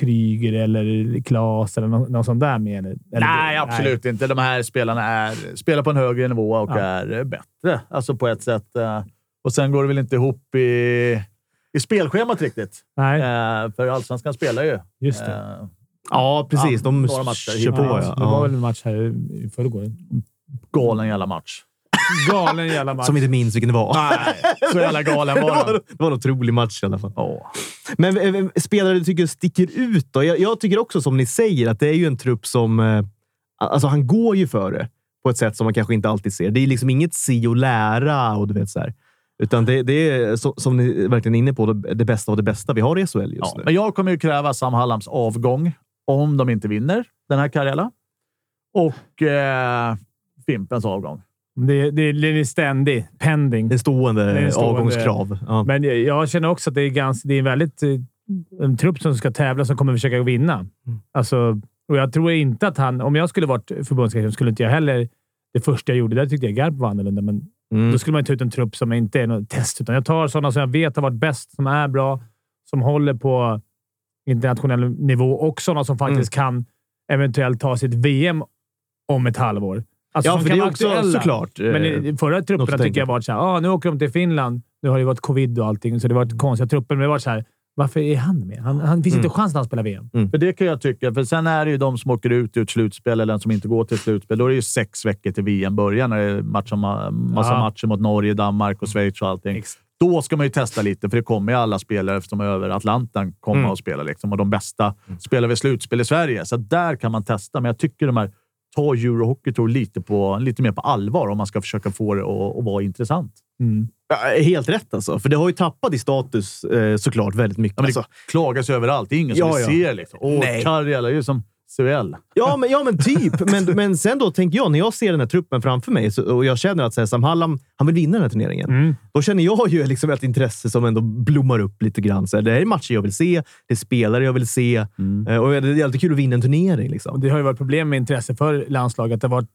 [SPEAKER 3] Kryger eller Klas eller någon, någon sån där med? Eller, eller-
[SPEAKER 2] Nej, absolut inte. De här spelarna är, spelar på en högre nivå och
[SPEAKER 3] Ja.
[SPEAKER 2] är bättre. Alltså på ett sätt. eh, Och sen går det väl inte ihop i, i spelschemat riktigt.
[SPEAKER 3] Nej, nej
[SPEAKER 2] Eh, För allsvenskan spelar ju.
[SPEAKER 3] just det.
[SPEAKER 2] Eh,
[SPEAKER 1] Ja, precis.
[SPEAKER 2] Ja,
[SPEAKER 1] de
[SPEAKER 2] några matcher
[SPEAKER 1] kör på.
[SPEAKER 3] Ja,
[SPEAKER 1] Ja,
[SPEAKER 3] Det var
[SPEAKER 1] ja.
[SPEAKER 3] väl en match här i förrgår.
[SPEAKER 2] Galen jävla match.
[SPEAKER 3] Galen jävla match.
[SPEAKER 1] Som inte minns vilken det var.
[SPEAKER 2] Nej, så jävla galen
[SPEAKER 1] det,
[SPEAKER 2] var
[SPEAKER 1] var
[SPEAKER 2] den.
[SPEAKER 1] det var en otrolig match i alla fall.
[SPEAKER 2] Ja.
[SPEAKER 1] Men eh, eh, spelare du tycker sticker ut då? Jag, jag tycker också som ni säger att det är ju en trupp som... Eh, alltså han går ju före på ett sätt som man kanske inte alltid ser. Det är liksom inget si och lära och du vet så här. Utan det, det är, så, som ni verkligen är inne på, det det bästa av det bästa vi har i SHL just
[SPEAKER 2] Ja,
[SPEAKER 1] nu.
[SPEAKER 2] men jag kommer ju kräva Sam Hallams avgång om de inte vinner den här Karjala. Och eh, Fimpens avgång.
[SPEAKER 3] Det, det, det är ständig pending.
[SPEAKER 1] En stående,
[SPEAKER 3] Det är en stående-
[SPEAKER 1] avgångskrav. Ja.
[SPEAKER 3] Men jag- jag känner också att det är, ganska, det är en väldigt... eh, En trupp som ska tävla som kommer försöka
[SPEAKER 1] Mm.
[SPEAKER 3] vinna. Alltså, och jag tror inte att han... Om jag skulle varit förbundskapten skulle inte jag heller... Det första jag gjorde, där tyckte jag Garp var annorlunda, men
[SPEAKER 1] Mm.
[SPEAKER 3] då skulle man ta ut en trupp som inte är något test. Utan jag tar sådana som jag vet har varit bäst, som är bra, som håller på internationell nivå och sådana som faktiskt
[SPEAKER 1] Mm.
[SPEAKER 3] kan eventuellt ta sitt VM om ett halvår. Alltså,
[SPEAKER 1] Ja,
[SPEAKER 3] som
[SPEAKER 1] för det
[SPEAKER 3] kan
[SPEAKER 1] är
[SPEAKER 3] vara
[SPEAKER 1] också
[SPEAKER 3] aktuella.
[SPEAKER 1] såklart. eh,
[SPEAKER 3] Men i- förra
[SPEAKER 1] något
[SPEAKER 3] trupperna
[SPEAKER 1] att
[SPEAKER 3] tycker
[SPEAKER 1] tänka
[SPEAKER 3] jag varit såhär, ah, nu åker de till Finland. Nu har det varit covid och allting, så det har varit konstiga trupper. Men det har varit såhär, varför är han med? Han, han finns
[SPEAKER 1] Mm.
[SPEAKER 3] inte chans när han spelar VM.
[SPEAKER 2] För det kan jag tycka. För sen är det ju de som åker ut ur ett slutspel eller den som inte går till slutspel. Då är det ju sex veckor till VM börjar när det är match om, massa
[SPEAKER 3] Ja.
[SPEAKER 2] matcher mot Norge, Danmark och Schweiz och allting.
[SPEAKER 3] Exakt.
[SPEAKER 2] Då ska man ju testa lite, för det kommer ju alla spelare som är över Atlanten komma
[SPEAKER 1] Mm.
[SPEAKER 2] och spela. Liksom. Och de bästa spelar vid slutspel i Sverige, så där kan man testa. Men jag tycker de här ta Eurohockey Tour lite, på, lite mer på allvar om man ska försöka få det att, att vara intressant.
[SPEAKER 3] Mm.
[SPEAKER 1] Ja, Helt rätt alltså, för det har ju tappat i status eh, såklart väldigt mycket.
[SPEAKER 2] Ja, men det
[SPEAKER 1] alltså,
[SPEAKER 2] klagas överallt. Det är ingen
[SPEAKER 1] Ja,
[SPEAKER 2] som
[SPEAKER 1] ja.
[SPEAKER 2] vi ser. Liksom. Åh,
[SPEAKER 1] Nej.
[SPEAKER 2] Karjala. Det är ju som CHL.
[SPEAKER 1] Ja, men, ja, men typ. Men, men sen då tänker jag, när jag ser den här truppen framför mig så, och jag känner att så här, Sam Hallam, han vill vinna den här turneringen.
[SPEAKER 3] Mm.
[SPEAKER 1] Då känner jag ju liksom ett intresse som ändå blommar upp lite grann. Så här, det här är matcher jag vill se, det är spelare jag vill se
[SPEAKER 2] Mm.
[SPEAKER 1] eh, och det är alltid kul att vinna en turnering.
[SPEAKER 3] Och
[SPEAKER 1] Liksom.
[SPEAKER 3] det har ju varit problem med intresse för landslaget. Det har varit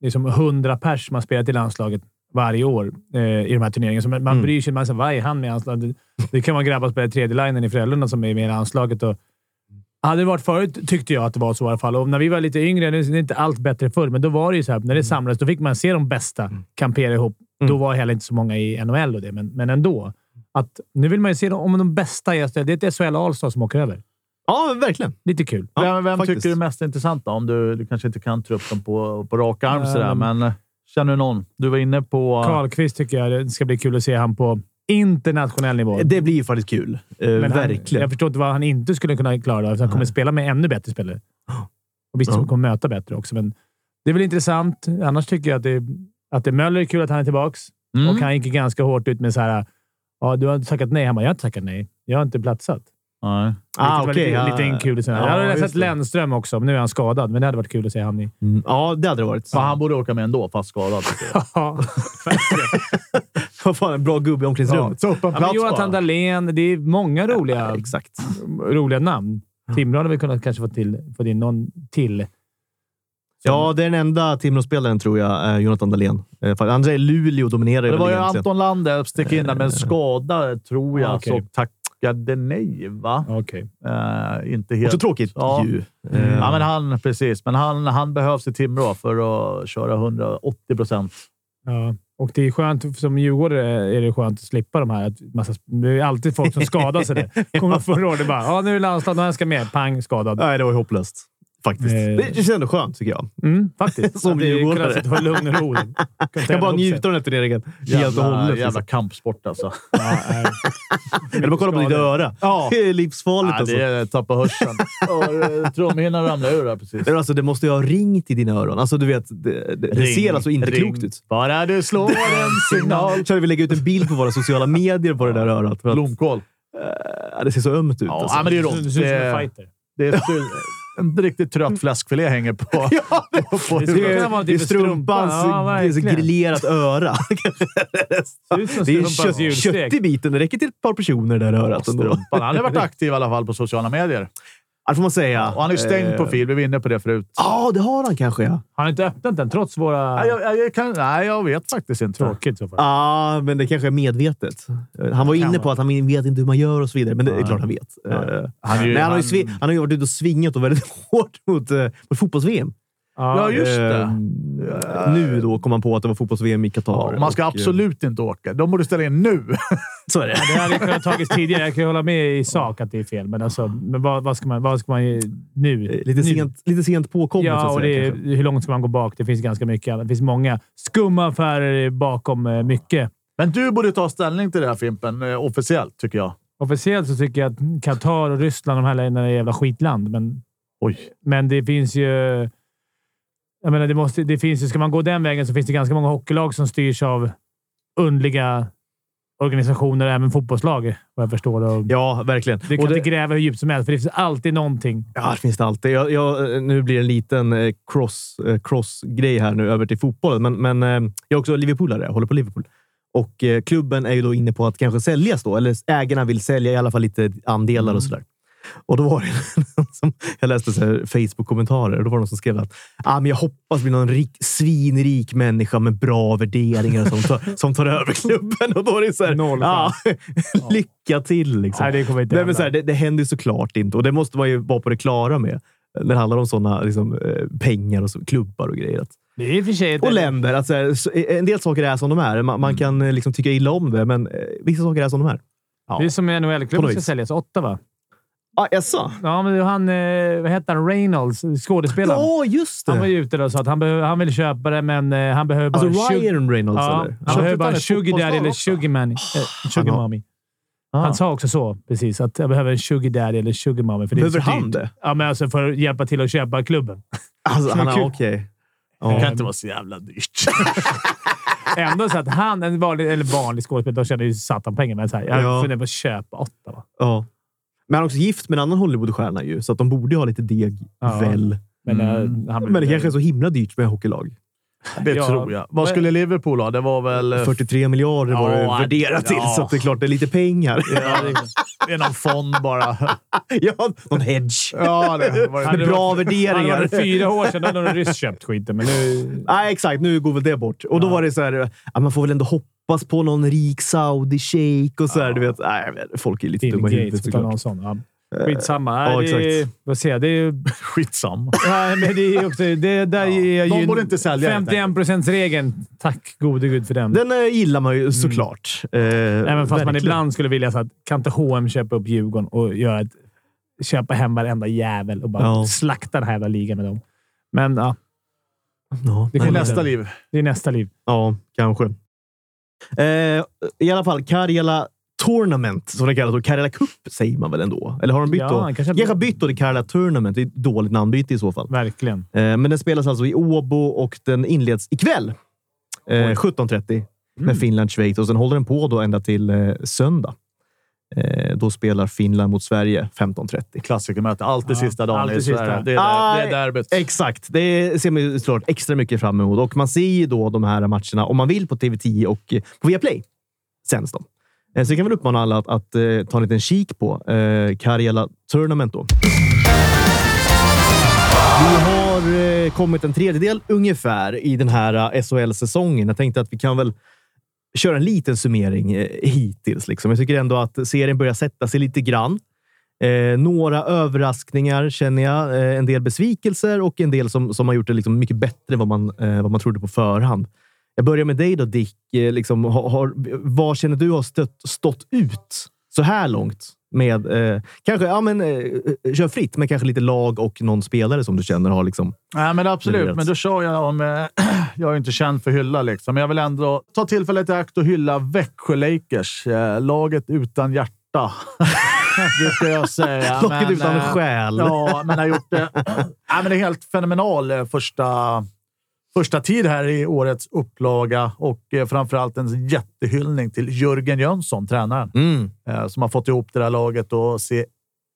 [SPEAKER 3] liksom 100 pers som har spelat i landslaget varje år eh, i de här turneringarna. Så man, man
[SPEAKER 1] Mm.
[SPEAKER 3] bryr sig. Man säger, vad är han med i landslaget? Det, det kan vara grabbar som spelar i tredje linjen i Frölunda som är med i landslaget. Och, hade det varit förut tyckte jag att det var så i alla fall. Och när vi var lite yngre, nu är inte allt bättre förr, men då var det ju så här. När det samlades, då fick man se de bästa kampera ihop.
[SPEAKER 1] Mm.
[SPEAKER 3] Då var heller inte så många i NHL och det, men, men ändå. Att, nu vill man ju se de, om de bästa är... Det är ett SHL Allstars som åker över.
[SPEAKER 1] Ja, verkligen.
[SPEAKER 3] Lite kul.
[SPEAKER 1] Ja,
[SPEAKER 2] vem vem
[SPEAKER 1] faktiskt.
[SPEAKER 2] tycker du är mest intressant då? Om du, du kanske inte kan truppen på, på rak arm
[SPEAKER 1] Ehm.
[SPEAKER 3] Nej,
[SPEAKER 2] sådär, men... eh,
[SPEAKER 3] men-
[SPEAKER 2] känner du någon? Du var inne på...
[SPEAKER 3] Karlqvist tycker jag det ska bli kul att se han på internationell nivå.
[SPEAKER 1] Det blir ju faktiskt kul. Eh,
[SPEAKER 3] Men han,
[SPEAKER 1] verkligen.
[SPEAKER 3] Jag förstår inte vad han inte skulle kunna klara av. för Han kommer spela med ännu bättre spelare. Och visst,
[SPEAKER 1] Ja.
[SPEAKER 3] han kommer möta bättre också, men det är väl intressant. Annars tycker jag att det, att det Möller är kul att han är tillbaka.
[SPEAKER 2] Mm.
[SPEAKER 3] Och han gick ju ganska hårt ut med så här. Ja, du har inte tackat nej. Han bara, jag har inte tackat nej. Jag har inte platsat.
[SPEAKER 2] Nej.
[SPEAKER 1] Ah,
[SPEAKER 3] Vilket var
[SPEAKER 1] okej,
[SPEAKER 3] lite,
[SPEAKER 1] ja.
[SPEAKER 3] lite inkul. Ja, jag
[SPEAKER 1] Ja,
[SPEAKER 3] hade
[SPEAKER 1] just
[SPEAKER 3] sett
[SPEAKER 1] det.
[SPEAKER 3] Lennström också, men nu är han skadad. Men det hade varit kul att se han i...
[SPEAKER 1] Mm, Ja, det hade det varit.
[SPEAKER 2] Fan, han borde åka med ändå, fast skadad.
[SPEAKER 3] Ja,
[SPEAKER 1] Vad fan, en bra gubbe i omklädningsrummet.
[SPEAKER 2] Så upp en
[SPEAKER 3] men Jonathan Dahlén. Det är många roliga
[SPEAKER 1] Exakt.
[SPEAKER 3] roliga namn. Timrå hade vi kunnat kanske få, till, få in någon till.
[SPEAKER 1] Ja, det är den enda Timrå-spelaren, tror jag, eh, Jonathan Dahlén. Eh, för André Luleå dominerar ju
[SPEAKER 2] Det var
[SPEAKER 1] väl
[SPEAKER 2] ju
[SPEAKER 1] egentligen. Eh.
[SPEAKER 2] Anton Lande stick in där med en skada, tror jag,
[SPEAKER 3] Ah, okej.
[SPEAKER 2] så tackade nej, va?
[SPEAKER 3] Okej.
[SPEAKER 2] Eh, inte helt...
[SPEAKER 1] Också tråkigt
[SPEAKER 2] Ja.
[SPEAKER 1] ju.
[SPEAKER 2] Mm.
[SPEAKER 1] Eh,
[SPEAKER 2] Ja, men han, precis. Men han, han behövs i Timrå för att köra 180 procent.
[SPEAKER 3] Ja. Och det är skönt, som djurgårdare eh, är det skönt att slippa de här. att Massa, det är alltid folk som skadar sig. där. Kommer förra året bara ja, nu är det landslag, den här ska med. Pang, skadad.
[SPEAKER 1] Nej, det var ju hopplöst. Faktiskt.
[SPEAKER 3] Eh.
[SPEAKER 1] Det känns ändå skönt, tycker jag.
[SPEAKER 3] Mm, faktiskt.
[SPEAKER 1] Som
[SPEAKER 3] Det är ju
[SPEAKER 1] djurgårdare.
[SPEAKER 3] kunnat sitta och ha lugn och ro. Kan
[SPEAKER 1] Jag
[SPEAKER 3] träna
[SPEAKER 1] kan bara
[SPEAKER 3] ihop sig.
[SPEAKER 1] njuta av den här turneringen helt och hållet.
[SPEAKER 2] Jävla
[SPEAKER 1] liksom.
[SPEAKER 2] kampsport alltså.
[SPEAKER 3] Ja, nej.
[SPEAKER 1] Eller bara kolla på ditt
[SPEAKER 3] Skador.
[SPEAKER 1] öra.
[SPEAKER 2] Ja.
[SPEAKER 1] Det är livsfarligt
[SPEAKER 2] Nej,
[SPEAKER 1] alltså.
[SPEAKER 2] det är tappa hörseln. Och, eh, Trumhinnan ramlade ur där precis.
[SPEAKER 1] Det, är alltså, det måste ju ha ringt i dina öron. Alltså, du vet, det, det, det
[SPEAKER 2] Ring,
[SPEAKER 1] ser alltså inte
[SPEAKER 2] ring.
[SPEAKER 1] klokt ut.
[SPEAKER 2] Bara du slår en signal.
[SPEAKER 1] Kör vi lägga ut en bild på våra sociala medier på det där örat. För att,
[SPEAKER 2] Blomkål.
[SPEAKER 1] ja, det ser så ömt ut.
[SPEAKER 2] Ja,
[SPEAKER 1] alltså.
[SPEAKER 2] ja, men det är
[SPEAKER 3] Du ser ut som en
[SPEAKER 2] rått.
[SPEAKER 3] fighter.
[SPEAKER 2] Det är styr, en riktigt trött fläskfilé hänger på.
[SPEAKER 1] Ja, det,
[SPEAKER 2] på
[SPEAKER 1] det,
[SPEAKER 3] skulle kunna
[SPEAKER 1] är,
[SPEAKER 3] vara
[SPEAKER 1] det är
[SPEAKER 3] typ en
[SPEAKER 1] strumpans
[SPEAKER 3] strumpa. Ja,
[SPEAKER 1] det är så
[SPEAKER 3] verkligen.
[SPEAKER 1] grillerat öra.
[SPEAKER 3] Ser ut som
[SPEAKER 1] Det är
[SPEAKER 3] strumpans
[SPEAKER 1] kött,
[SPEAKER 3] julstek.
[SPEAKER 1] kött i biten. Det räcker till ett par personer där örat. ändå.
[SPEAKER 2] Strumpan. Han har varit aktiv i alla fall på sociala medier.
[SPEAKER 1] Ja, det får man säga.
[SPEAKER 2] Och han är stängd
[SPEAKER 1] Eh,
[SPEAKER 2] profil. Vi var inne på det förut.
[SPEAKER 1] Ja, det har han kanske. Ja,
[SPEAKER 3] Har han inte öppnat den, trots
[SPEAKER 2] Nej,
[SPEAKER 3] våra...
[SPEAKER 2] jag, jag- jag kan, nej, jag vet faktiskt inte.
[SPEAKER 3] Tråkigt så fall.
[SPEAKER 1] ah, men det kanske är medvetet. Eh, Han var
[SPEAKER 3] Kan
[SPEAKER 1] inne på
[SPEAKER 3] vara.
[SPEAKER 1] att han vet inte hur man gör och så vidare, men det är
[SPEAKER 2] Nej.
[SPEAKER 1] klart han vet. Eh,
[SPEAKER 2] Han, är ju-
[SPEAKER 1] Nej, han, har ju
[SPEAKER 2] han-
[SPEAKER 1] svi- han har ju varit ute och svingat och väldigt hårt mot, eh, mot fotbolls-VM.
[SPEAKER 2] Ja, just det.
[SPEAKER 1] Eh, Nu då kom man på att det var fotbolls-VM i Qatar.
[SPEAKER 2] Ja, man ska
[SPEAKER 1] och, eh,
[SPEAKER 2] absolut inte åka. De borde ställa in nu.
[SPEAKER 1] Så är det.
[SPEAKER 3] Det hade kunnat tagits tidigare. Jag kan ju hålla med i sak att det är fel, men, alltså, men vad, vad, ska man, vad ska man ju nu?
[SPEAKER 1] Eh, Lite
[SPEAKER 3] nu?
[SPEAKER 1] sent, lite sent påkommet, så
[SPEAKER 3] Ja,
[SPEAKER 1] att
[SPEAKER 3] och
[SPEAKER 1] säga,
[SPEAKER 3] det är,
[SPEAKER 1] kanske.
[SPEAKER 3] hur långt ska man gå bak? Det finns ganska mycket. Det finns många skumma affärer bakom eh, mycket.
[SPEAKER 2] Men du borde ta ställning till det här Fimpen, eh, officiellt tycker jag.
[SPEAKER 3] Officiellt så tycker jag att Qatar och Ryssland, de här länderna, är jävla skitland. Men,
[SPEAKER 2] Oj.
[SPEAKER 3] men det finns ju... Jag menar, det måste, det finns ju... Ska man gå den vägen så finns det ganska många hockeylag som styrs av underliga organisationer, även fotbollslag, vad jag förstår. Och
[SPEAKER 1] Ja, verkligen.
[SPEAKER 3] du
[SPEAKER 1] Och
[SPEAKER 3] kan
[SPEAKER 1] det-
[SPEAKER 3] inte gräva hur djupt som helst, för det finns alltid någonting.
[SPEAKER 1] Ja, det finns det alltid. Jag, jag, nu blir det en liten eh, cross, eh, cross-grej här nu över till fotbollen, men, men eh, jag är också Liverpoolare. Jag håller på Liverpool. Och eh, klubben är ju då inne på att kanske säljas då, eller ägarna vill sälja i alla fall lite andelar
[SPEAKER 3] Mm.
[SPEAKER 1] och sådär. Och då var det någon som, jag läste så här Facebook-kommentarer och då var det någon som skrev att ah, men jag hoppas bli någon rik, svinrik människa med bra värderingar som, tar- som tar över klubben. Och då är det så här,
[SPEAKER 3] Noll
[SPEAKER 1] ah, lycka till! Liksom.
[SPEAKER 3] Nej, det kommer inte
[SPEAKER 1] Nej, men
[SPEAKER 3] hända.
[SPEAKER 1] så här, det, det händer ju såklart inte och det måste man ju vara på det klara med när det handlar om sådana liksom, eh, pengar och så, klubbar och grejer. Att, Eh,
[SPEAKER 3] Det är i och för sig... ett-
[SPEAKER 1] och länder. Att, så här, så, eh, en del saker är som de är. Man, man kan eh, liksom, tycka illa om det, men eh, vissa saker är som de är.
[SPEAKER 3] Det är som
[SPEAKER 1] På något
[SPEAKER 3] NHL-klubben ska
[SPEAKER 1] vis.
[SPEAKER 3] säljas. Åtta, va?
[SPEAKER 1] Ah, jaså?
[SPEAKER 3] Ja, men det var han... eh, Vad hette han? Reynolds, skådespelaren.
[SPEAKER 1] Ja, just
[SPEAKER 3] Han var
[SPEAKER 1] det!
[SPEAKER 3] ju ute då och sa att han, behöver, han ville köpa det, men eh, han behöver bara...
[SPEAKER 1] Alltså
[SPEAKER 3] tjugo-
[SPEAKER 1] Ryan Reynolds,
[SPEAKER 3] ja,
[SPEAKER 1] eller?
[SPEAKER 3] han
[SPEAKER 1] Ja.
[SPEAKER 3] behöver bara
[SPEAKER 2] han ett
[SPEAKER 3] sugar daddy
[SPEAKER 2] fotbollslag
[SPEAKER 3] eller
[SPEAKER 2] också?
[SPEAKER 3] sugar, man, eh, sugar
[SPEAKER 1] han har-
[SPEAKER 3] mommy. Han sa också så, precis. Att jag behöver en sugar daddy eller sugar mommy. För det är
[SPEAKER 1] Behöver
[SPEAKER 3] så
[SPEAKER 1] han
[SPEAKER 3] dyrt.
[SPEAKER 1] det?
[SPEAKER 3] Ja, men alltså för att hjälpa till att köpa klubben.
[SPEAKER 1] Alltså, han
[SPEAKER 3] var
[SPEAKER 1] är
[SPEAKER 3] kul.
[SPEAKER 1] okej.
[SPEAKER 2] Det
[SPEAKER 1] Ja.
[SPEAKER 2] kan inte vara så jävla dyrt.
[SPEAKER 3] Ändå så att han, en vanlig, eller vanlig skådespelare, de tjänar ju satan pengar. Men så här, jag
[SPEAKER 1] Ja.
[SPEAKER 3] funderar på att köpa åtta. Va?
[SPEAKER 1] Ja. Men han är också gift med en annan Hollywoodstjärna ju, så att de borde ju ha lite deg,
[SPEAKER 3] Ja.
[SPEAKER 1] väl.
[SPEAKER 3] Men,
[SPEAKER 2] Mm.
[SPEAKER 3] eh, han blir-
[SPEAKER 1] Men det kanske är så himla dyrt med hockeylag.
[SPEAKER 2] Det
[SPEAKER 3] Ja.
[SPEAKER 2] tror jag. Vad skulle Liverpool ha? Det var väl...
[SPEAKER 1] 43 miljarder var det
[SPEAKER 2] Ja,
[SPEAKER 1] värderat till,
[SPEAKER 2] ja.
[SPEAKER 1] så att det är klart det är lite pengar.
[SPEAKER 2] Ja, det är någon fond bara.
[SPEAKER 1] ja, någon hedge.
[SPEAKER 2] Ja, det var
[SPEAKER 1] Med
[SPEAKER 3] Hade
[SPEAKER 2] det.
[SPEAKER 3] det
[SPEAKER 1] bra
[SPEAKER 3] varit- Hade det
[SPEAKER 1] värderingar.
[SPEAKER 3] varit fyra år sedan hade en ryss köpt skiten, men nu...
[SPEAKER 1] Nej, exakt. Nu går väl det bort. Och då var det så här, ja, man får väl ändå hoppas på någon rik saudi-shejk och så här. Du vet, nej, men folk är lite
[SPEAKER 3] Bill
[SPEAKER 1] dumma i
[SPEAKER 3] Gates
[SPEAKER 1] huvudet
[SPEAKER 3] får ta
[SPEAKER 1] såklart. Eh,
[SPEAKER 3] någon sån. Ja. Skitsamma.
[SPEAKER 1] Ja,
[SPEAKER 3] Nej, det är,
[SPEAKER 1] exakt.
[SPEAKER 3] vad säger jag? Det är,
[SPEAKER 2] Skitsamma.
[SPEAKER 3] nej, men det är också... Det, där är jag
[SPEAKER 2] De
[SPEAKER 3] ju-
[SPEAKER 2] borde inte sälja, helt
[SPEAKER 3] 51 regeln Tack gode gud för den.
[SPEAKER 1] Den eh, gillar man ju såklart. Eh,
[SPEAKER 3] Mm. Även fast man
[SPEAKER 1] verkligen.
[SPEAKER 3] ibland skulle vilja så att kan inte H&M köpa upp Djurgården och göra ett, köpa hem varenda jävel och bara
[SPEAKER 1] Ja.
[SPEAKER 3] slakta den här jävla ligan med dem. Men ja,
[SPEAKER 1] Ja,
[SPEAKER 2] Det
[SPEAKER 3] Det
[SPEAKER 2] är
[SPEAKER 1] nej,
[SPEAKER 3] kommer-
[SPEAKER 2] nästa liv.
[SPEAKER 3] det är nästa liv.
[SPEAKER 1] ja kanske. Eh, I alla fall, Karjala Tournament, som det kallas. då. Karjala Cup säger man väl ändå? Eller har de bytt
[SPEAKER 3] Ja,
[SPEAKER 1] då?
[SPEAKER 3] han kanske-
[SPEAKER 1] Kanske har bytt då till Karjala Tournament. Det är ett dåligt namnbyte i så fall.
[SPEAKER 3] Verkligen.
[SPEAKER 1] Eh, Men den spelas alltså i Åbo och den inleds ikväll. Eh, 17.30 med Finland-Schweiz och sen håller den på då ända till eh, söndag. Eh, då spelar Finland mot Sverige 15.30.
[SPEAKER 2] Klassikermöte. Alltid
[SPEAKER 3] Ja,
[SPEAKER 2] sista dagen
[SPEAKER 3] alltid
[SPEAKER 2] i Sverige.
[SPEAKER 3] sista.
[SPEAKER 2] Det är, där, det är derbyt.
[SPEAKER 1] Exakt. Det ser man ju såklart extra mycket fram emot. Och man ser ju då de här matcherna, om man vill, på TV10 och eh, på Viaplay. Sänds de. Eh, Så jag kan väl uppmana alla att, att eh, ta en liten kik på eh, Karjala Tournament då. Vi har eh, kommit en tredjedel ungefär i den här eh, SHL-säsongen. Jag tänkte att vi kan väl köra en liten summering eh, hittills. Liksom. Jag tycker ändå att serien börjar sätta sig lite grann. Eh, några överraskningar känner jag. Eh, en del besvikelser och en del som, som har gjort det liksom mycket bättre än vad man, eh, vad man trodde på förhand. Jag börjar med dig då, Dick. Eh, liksom, har, har, vad känner du har stött, stått ut så här långt? Med, eh, kanske, ja, men, eh, kör fritt, men kanske lite lag och någon spelare som du känner har liksom...
[SPEAKER 2] Nej, men
[SPEAKER 1] Det
[SPEAKER 2] absolut.
[SPEAKER 1] vet.
[SPEAKER 2] Men då kör jag om... eh, jag är inte känd för att hylla, liksom. men jag vill ändå ta tillfället i akt och hylla Växjö Lakers. Eh, laget utan hjärta, brukar jag säga.
[SPEAKER 1] Locket
[SPEAKER 2] Men,
[SPEAKER 1] utan
[SPEAKER 2] eh,
[SPEAKER 1] själ.
[SPEAKER 2] Ja, men har gjort det. Nej, men det är helt fenomenal eh, första, första tid här i årets upplaga och eh, framförallt en jättehyllning till Jörgen Jönsson, tränaren,
[SPEAKER 1] Mm.
[SPEAKER 2] eh, som har fått ihop det där laget och ser,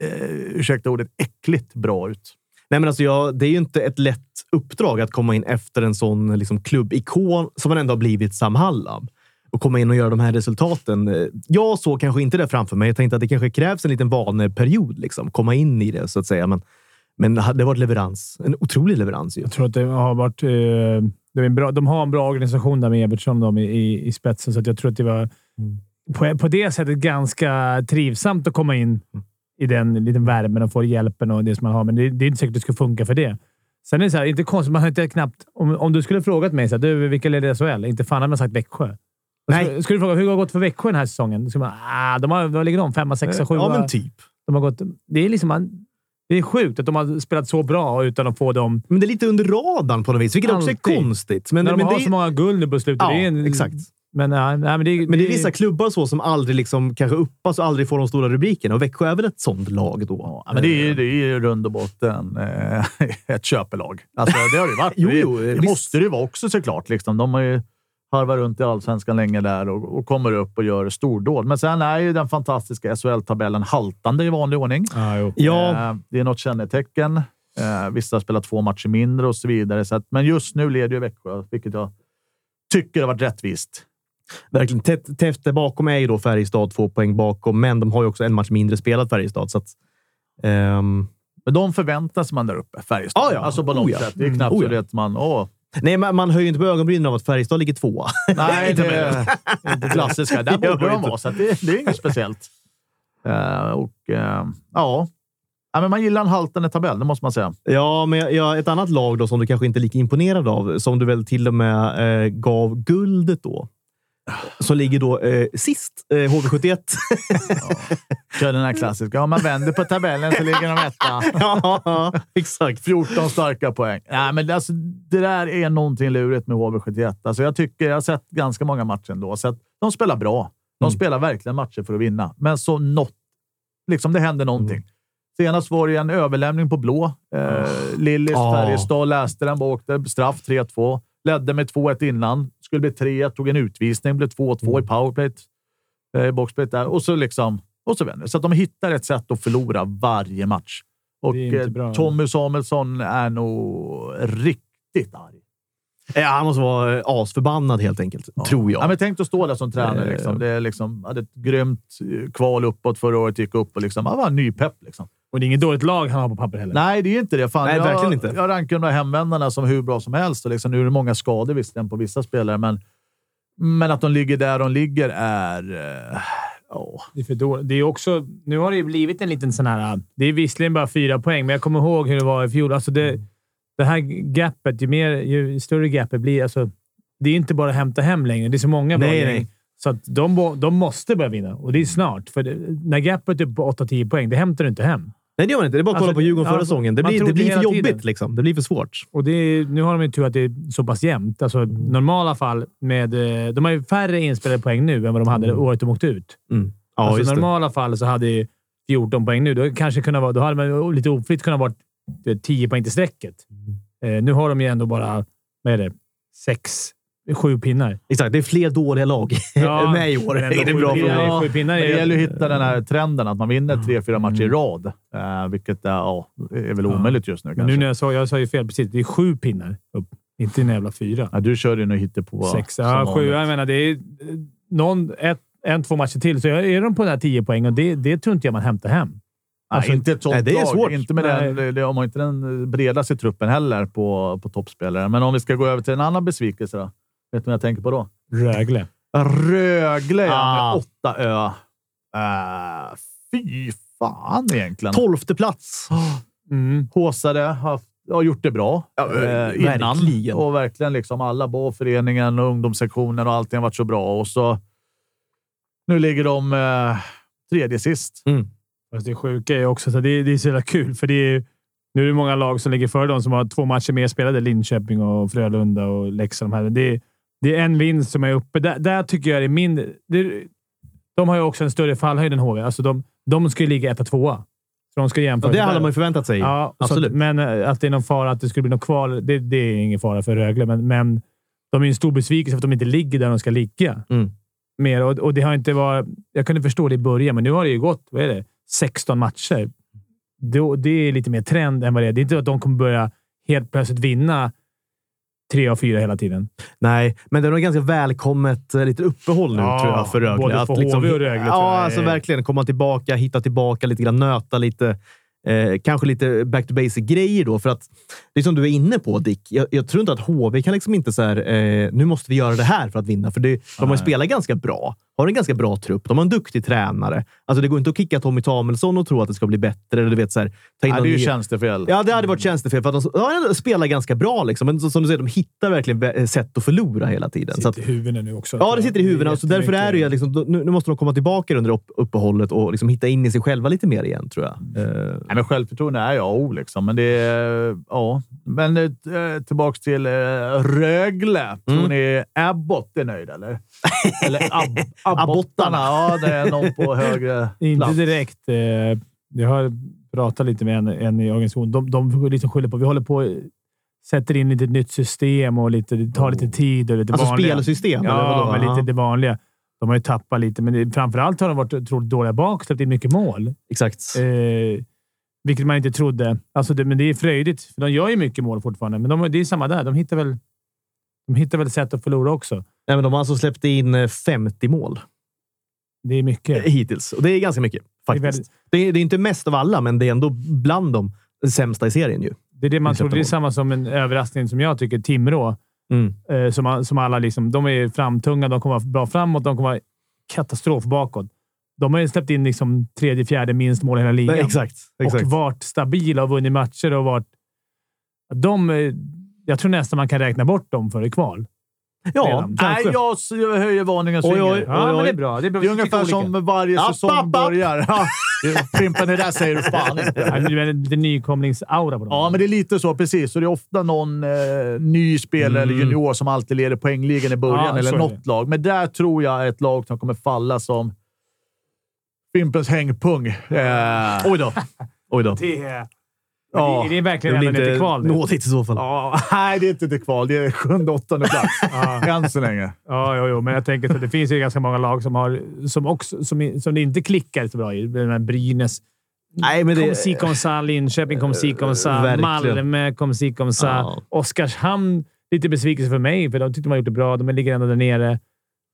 [SPEAKER 2] eh, ursäkta ordet, äckligt bra ut.
[SPEAKER 1] Nej, men alltså jag, det är ju inte ett lätt uppdrag att komma in efter en sån liksom, klubbikon som han ändå har blivit, Sam Hallam, och komma in och göra de här resultaten. Eh, Jag såg kanske inte det framför mig. Jag tänkte att det kanske krävs en liten vaneperiod, liksom, komma in i det så att säga. Men, men det var ett leverans. En otrolig leverans ju.
[SPEAKER 3] Jag tror att det har varit... Eh, det är en bra, de har en bra organisation där med Evertsson de, i, i spetsen, så att jag tror att det var
[SPEAKER 1] Mm.
[SPEAKER 3] på, på det sättet ganska trivsamt att komma in i den liten värmen och få hjälpen och det som man har, men det, det är inte säkert att det skulle funka för det. Sen är det så här, inte konstigt, man har inte knappt... Om, om du skulle frågat mig så här, du, vilka leder SHL? Inte fan hade man sagt Växjö.
[SPEAKER 1] Nej.
[SPEAKER 3] Skulle, skulle du fråga hur har det gått för Växjö den här säsongen? Då skulle man, ah, de har, vad ligger de? Femma, sexa, sjua?
[SPEAKER 1] Ja, men typ.
[SPEAKER 3] de har gått, det, är liksom, man- det är sjukt att de har spelat så bra utan att få dem
[SPEAKER 1] Men det är lite under radarn på något vis, vilket också är
[SPEAKER 3] Alltid.
[SPEAKER 1] konstigt. Men,
[SPEAKER 3] när de
[SPEAKER 1] men
[SPEAKER 3] har
[SPEAKER 1] det,
[SPEAKER 3] så många guld nu på slutet.
[SPEAKER 1] Ja,
[SPEAKER 3] det är en,
[SPEAKER 1] exakt.
[SPEAKER 3] Men, ja, nej, men, det, är-
[SPEAKER 1] Men det är vissa klubbar så som aldrig liksom, kanske uppas och aldrig får de stora rubrikerna. Och Växjö är väl ett sånt lag då?
[SPEAKER 2] Ja, men det är ju, det är ju rund och botten eh, ett köpelag. Alltså, det har det ju varit.
[SPEAKER 1] Jo, jo,
[SPEAKER 2] det
[SPEAKER 1] visst.
[SPEAKER 2] måste det ju vara också såklart. Liksom. De har ju harvat runt i allsvenskan länge där och, och kommer upp och gör stordåd. Men sen är ju den fantastiska SHL-tabellen haltande i vanlig ordning.
[SPEAKER 3] Ja, jo.
[SPEAKER 1] Ja,
[SPEAKER 2] Eh, det är något kännetecken. Eh, vissa har spelat två matcher mindre och så vidare. Så att, men just nu leder ju Växjö, vilket jag tycker har varit rättvist.
[SPEAKER 1] Verkligen. Tätt, tätt där bakom är ju då Färjestad två poäng bakom, men de har ju också en match mindre spelat Färjestad. Så att, ehm,
[SPEAKER 2] Men de förväntas man där uppe, Färjestad.
[SPEAKER 1] Ah, ja.
[SPEAKER 2] Alltså på något
[SPEAKER 1] Oh, ja.
[SPEAKER 2] sätt. Det är knappt
[SPEAKER 1] Oh, ja.
[SPEAKER 2] så det att man... Åh,
[SPEAKER 1] nej, man, man höjer inte på ögonbrynen av att Färjestad ligger tvåa.
[SPEAKER 2] Nej,
[SPEAKER 1] Inte
[SPEAKER 2] det är inte klassiska. Där
[SPEAKER 1] Jag
[SPEAKER 2] borde de
[SPEAKER 1] vet
[SPEAKER 2] vara, så att det, det är inget speciellt. Eh, och, eh, ja. ja men man gillar en haltande tabell, det måste man säga.
[SPEAKER 1] ja, men jag- jag- ett annat lag då som du kanske inte är lika imponerad av, som du väl till och med eh, gav guldet då. Som ligger då eh, sist, eh, HV71.
[SPEAKER 2] Kör den här klassiska. Om man vänder på tabellen så ligger de etta.
[SPEAKER 1] ja, exakt.
[SPEAKER 2] 14 starka poäng. Nej, men alltså, det där är någonting lurigt med HV71. Alltså, jag, tycker, jag har sett ganska många matcher ändå. Så att de spelar bra. De
[SPEAKER 1] Mm.
[SPEAKER 2] spelar verkligen matcher för att vinna. Men så något. Liksom det händer någonting. Senast var det ju en överlämning på blå. Eh, Lillis
[SPEAKER 1] Ah.
[SPEAKER 2] Färjestad läste den, bara åkte straff 3-2. Ledde med 2-1 innan. Mm. Skulle bli 3-1, tog en utvisning, blev 2-2 i powerplay. Eh, i boxplay där. Och så liksom... Och så vänder det. Så att de hittar ett sätt att förlora varje match. Och
[SPEAKER 3] Det är inte
[SPEAKER 2] eh,
[SPEAKER 3] bra.
[SPEAKER 2] Tommy Samuelsson är nog riktigt arg.
[SPEAKER 1] Ja, han måste vara eh, asförbannad helt enkelt, tror jag.
[SPEAKER 2] Ja, men tänk att stå där som tränare.
[SPEAKER 1] Eh.
[SPEAKER 2] Liksom. Det är liksom, hade ett grymt eh, kval uppåt förra året. Gick upp och liksom, han var nypepp. Liksom.
[SPEAKER 3] Och det är inget dåligt lag han har på papper heller.
[SPEAKER 2] Nej, det är inte det. Fan,
[SPEAKER 1] Nej,
[SPEAKER 2] jag,
[SPEAKER 1] verkligen inte.
[SPEAKER 2] Jag rankar de där hemvändarna som hur bra som helst. Och liksom, nu är det många skador visserligen på vissa spelare, men, men att de ligger där de ligger är... eh, ja.
[SPEAKER 3] Det är för dåligt. Det är också, nu har det ju blivit en liten sån här... Det är visserligen bara fyra poäng, men jag kommer ihåg hur det var i fjol. Alltså
[SPEAKER 1] Mm.
[SPEAKER 3] det, det här gapet, ju, mer, ju större gapet blir, alltså, det är inte bara att hämta hem längre. Det är så många bra
[SPEAKER 1] Nej,
[SPEAKER 3] gäng.
[SPEAKER 1] nej.
[SPEAKER 3] Så att de, bo- de måste börja vinna och det är snart. För det, när gapet är på 8-10 poäng, det hämtar du inte hem.
[SPEAKER 1] Nej, det gör man inte. Det är bara att
[SPEAKER 3] Alltså,
[SPEAKER 1] kolla på Djurgården
[SPEAKER 3] ja,
[SPEAKER 1] förra säsongen. Det
[SPEAKER 3] man
[SPEAKER 1] blir,
[SPEAKER 3] trodde
[SPEAKER 1] det blir
[SPEAKER 3] hela
[SPEAKER 1] för jobbigt.
[SPEAKER 3] tiden.
[SPEAKER 1] Liksom. Det blir för svårt.
[SPEAKER 3] Och det är, nu har de ju tur att det är så pass jämnt. Alltså,
[SPEAKER 1] Mm.
[SPEAKER 3] normala fall, med, eh, de har ju färre inspelade poäng nu än vad de hade året de åkte ut.
[SPEAKER 1] Mm. Ja,
[SPEAKER 3] alltså, I
[SPEAKER 1] just det.
[SPEAKER 3] normala fall så hade ju 14 poäng nu. Då, kanske kunde vara, då hade man lite oflytt kunnat vara 10 poäng till strecket.
[SPEAKER 1] Mm.
[SPEAKER 3] Eh, nu har de ju ändå bara, vad är det, sex, sju pinnar.
[SPEAKER 1] Exakt. Det är fler dåliga lag
[SPEAKER 3] Ja,
[SPEAKER 1] med i år.
[SPEAKER 3] men ändå
[SPEAKER 1] Det är bra
[SPEAKER 3] sju
[SPEAKER 1] för
[SPEAKER 3] pinnar,
[SPEAKER 1] mig.
[SPEAKER 3] sju pinnar
[SPEAKER 2] Men
[SPEAKER 3] är
[SPEAKER 2] det gäller
[SPEAKER 3] ju...
[SPEAKER 2] att hitta den här trenden att man vinner tre, fyra matcher
[SPEAKER 3] Mm.
[SPEAKER 2] i rad, eh, vilket eh, ja, är väl omöjligt just nu.
[SPEAKER 3] Men
[SPEAKER 2] Kanske.
[SPEAKER 3] nu när jag sa, jag sa ju fel precis. Det är sju pinnar upp. Inte en jävla fyra.
[SPEAKER 2] ja, du körde ju nog hittepå.
[SPEAKER 3] sex.
[SPEAKER 2] som
[SPEAKER 3] Ja, sju.
[SPEAKER 2] vanligt.
[SPEAKER 3] Jag menar, det är eh, någon, ett, en, två matcher till, så är de på den här 10 poäng och det, det tror inte jag man hämtar hem. Alltså,
[SPEAKER 2] nej, inte ett sånt
[SPEAKER 1] nej, det är
[SPEAKER 2] lag.
[SPEAKER 1] svårt.
[SPEAKER 2] Inte med
[SPEAKER 3] Nej.
[SPEAKER 2] den, det- om man inte den bredaste truppen heller på, på toppspelare. Men om vi ska gå över till en annan besvikelse då. Vet du vad jag tänker på då?
[SPEAKER 3] Rögle.
[SPEAKER 2] Rögle ja,
[SPEAKER 1] Ah.
[SPEAKER 2] med åtta ö. Eh, fy fan egentligen.
[SPEAKER 1] Tolfte plats.
[SPEAKER 3] Mm.
[SPEAKER 2] Håsade har har gjort det bra
[SPEAKER 1] Ja,
[SPEAKER 2] eh, innan.
[SPEAKER 1] verkligen.
[SPEAKER 2] Och verkligen liksom alla, både föreningen och ungdomssektionen och allting har varit så bra. Och så, nu ligger de eh, tredje sist.
[SPEAKER 3] Fast det sjuka är också så det, är- det är så jävla kul, för det är, nu är det många lag som ligger före dem som har två matcher mer spelade. Linköping och Frölunda och Leksand. De här. Det, är- det är en vinst som är uppe. Där, där tycker jag det är mindre... Det, de har ju också en större fallhöjd än HV. Alltså de, de ska ju ligga etta, tvåa. Så de ska
[SPEAKER 1] Ja,
[SPEAKER 3] jämföra
[SPEAKER 1] det
[SPEAKER 3] sig
[SPEAKER 1] hade
[SPEAKER 3] där.
[SPEAKER 1] man ju förväntat sig.
[SPEAKER 3] Ja, så
[SPEAKER 1] Absolut.
[SPEAKER 3] Att, men eh, att det är någon fara att det skulle bli något kval, det, det är ingen fara för Rögle. Men, men de är ju en stor besvikelse för att de inte ligger där de ska ligga.
[SPEAKER 1] Mm.
[SPEAKER 3] Mer, och, och det har inte varit, jag kunde förstå det i början, men nu har det ju gått vad är det, 16 matcher. Det, det är lite mer trend än vad det är. Det är inte att de kommer börja helt plötsligt vinna tre av fyra hela tiden.
[SPEAKER 1] Nej, men det är nog ganska välkommet eh, lite uppehåll nu
[SPEAKER 3] Ja,
[SPEAKER 1] tror jag för Rögle.
[SPEAKER 3] både för
[SPEAKER 1] Att liksom-
[SPEAKER 3] HV och Rögle, tror
[SPEAKER 1] Ja,
[SPEAKER 3] jag.
[SPEAKER 1] alltså verkligen. Komma tillbaka, hitta tillbaka lite grann, nöta lite. Eh, kanske lite back to basic-grejer då. För att det är som du är inne på, Dick. Jag, jag tror inte att HV kan liksom inte så här, eh, nu måste vi göra det här för att vinna. För det, de har ju spelat ganska bra. Har en ganska bra trupp. De har en duktig tränare. Alltså det går inte att kicka Tommy Tamelsson och tro att det ska bli bättre. Eller du vet, så här, ta in
[SPEAKER 2] Nej,
[SPEAKER 1] någon
[SPEAKER 2] det är ju
[SPEAKER 1] ny-
[SPEAKER 2] tjänstefel. Mm.
[SPEAKER 1] Ja, det hade
[SPEAKER 3] Mm.
[SPEAKER 1] varit tjänstefel. För att de, ja, de spelar ganska bra, liksom. men så- som du säger, de hittar verkligen vä- eh, sätt att förlora hela tiden. Så att,
[SPEAKER 3] huvudena nu också.
[SPEAKER 1] ja, det sitter i huvudena. Så därför är det ju att liksom, då- nu, nu måste de komma tillbaka under upp, uppehållet och liksom hitta in i sig själva lite mer igen, tror
[SPEAKER 3] Mm.
[SPEAKER 1] jag. Eh,
[SPEAKER 2] Nej, men självförtroende är jag O, liksom. men det är... Ja. Men eh, tillbaka till eh, Rögle. Tror
[SPEAKER 1] Mm.
[SPEAKER 2] ni Abbott är nöjd, eller? Eller ab
[SPEAKER 1] Abbottarna.
[SPEAKER 2] Abbottarna. ja, det är någon på högre
[SPEAKER 3] Inte
[SPEAKER 2] plats.
[SPEAKER 3] direkt. eh, Jag har pratat lite med en, en i organisationen. De, de liksom skyller på vi håller på sätter in lite nytt system och lite, det tar lite tid. Och lite
[SPEAKER 1] alltså
[SPEAKER 3] vanliga.
[SPEAKER 1] spelsystem? eller
[SPEAKER 3] Ja,
[SPEAKER 1] vadå?
[SPEAKER 3] men
[SPEAKER 1] Ja,
[SPEAKER 3] lite det vanliga. De har ju tappat lite, men det, framförallt har de varit otroligt dåliga bak. Släppt in mycket mål,
[SPEAKER 1] Exakt.
[SPEAKER 3] eh, vilket man inte trodde. Alltså det, men det är fröjdigt, för de gör ju mycket mål fortfarande, men de, det är samma där. De hittar väl, de hittar väl sätt att förlora också.
[SPEAKER 1] Nej, men de har alltså släppt in eh, 50 mål
[SPEAKER 3] Det är mycket.
[SPEAKER 1] hittills och det är ganska mycket faktiskt. Det är,
[SPEAKER 3] väldigt-
[SPEAKER 1] det, är, inte mest av alla, men det är ändå bland de sämsta i serien ju.
[SPEAKER 3] Det är det man
[SPEAKER 1] Släppta
[SPEAKER 3] tror. Det
[SPEAKER 1] mål.
[SPEAKER 3] är samma som en överraskning som jag tycker. Timrå.
[SPEAKER 1] Mm.
[SPEAKER 3] Eh, som, som alla liksom, de är framtunga, de kommer vara bra framåt, de kommer vara katastrof bakåt. De har ju släppt in liksom tredje, fjärde minst mål i hela ligan.
[SPEAKER 1] Nej, exakt. exakt.
[SPEAKER 3] Och varit stabila och vunnit matcher och varit... De, eh, jag tror nästan man kan räkna bort dem före kval.
[SPEAKER 1] ja,
[SPEAKER 3] redan.
[SPEAKER 2] Nej,
[SPEAKER 3] Kanske.
[SPEAKER 2] jag s- jag höjer varningens
[SPEAKER 1] Oj,
[SPEAKER 2] finger.
[SPEAKER 1] oj,
[SPEAKER 3] Ja,
[SPEAKER 1] oj,
[SPEAKER 3] men
[SPEAKER 1] oj.
[SPEAKER 3] det är bra. Det är, bra.
[SPEAKER 2] Det är
[SPEAKER 3] Vi tycker
[SPEAKER 2] ungefär
[SPEAKER 3] olika.
[SPEAKER 2] som varje
[SPEAKER 1] App,
[SPEAKER 2] säsong
[SPEAKER 1] app, app.
[SPEAKER 2] börjar. Ja, Fimpen, det där säger du fan
[SPEAKER 3] Ja,
[SPEAKER 2] inte.
[SPEAKER 3] men Det är lite nykomlingsaura på dem.
[SPEAKER 2] Ja, men det är lite så. Precis. Så det är ofta någon eh, ny spelare eller junior som alltid leder poängligan i början,
[SPEAKER 3] Mm. Ja, så
[SPEAKER 2] eller
[SPEAKER 3] är
[SPEAKER 2] något lag. Men där tror jag ett lag som kommer falla som Fimpens hängpung. Eh,
[SPEAKER 1] Oj då. Oj då.
[SPEAKER 3] det är...
[SPEAKER 2] Ja.
[SPEAKER 3] Det, det är verkligen
[SPEAKER 1] Det
[SPEAKER 3] ända
[SPEAKER 1] blir
[SPEAKER 3] ner till
[SPEAKER 1] inte
[SPEAKER 3] kval. nu.
[SPEAKER 1] nådigt i så fall.
[SPEAKER 2] Ja, nej, det är inte det kval. Det är sjunde, åttonde plats. Än så länge.
[SPEAKER 3] Ja, jo, jo, men jag tänker att det finns ju ganska många lag som, har, som, också, som, som det inte klickar så bra i. Men Brynäs.
[SPEAKER 1] Nej, men
[SPEAKER 3] Kom
[SPEAKER 1] det...
[SPEAKER 3] si, kom sa. Linköping, kom si, kom sa.
[SPEAKER 1] Verkligen.
[SPEAKER 3] Malmö, kom si, kom sa.
[SPEAKER 1] Ja.
[SPEAKER 3] Oskarshamn, lite besvikelse för mig, för de tyckte de har gjort det bra. De ligger ändå där nere.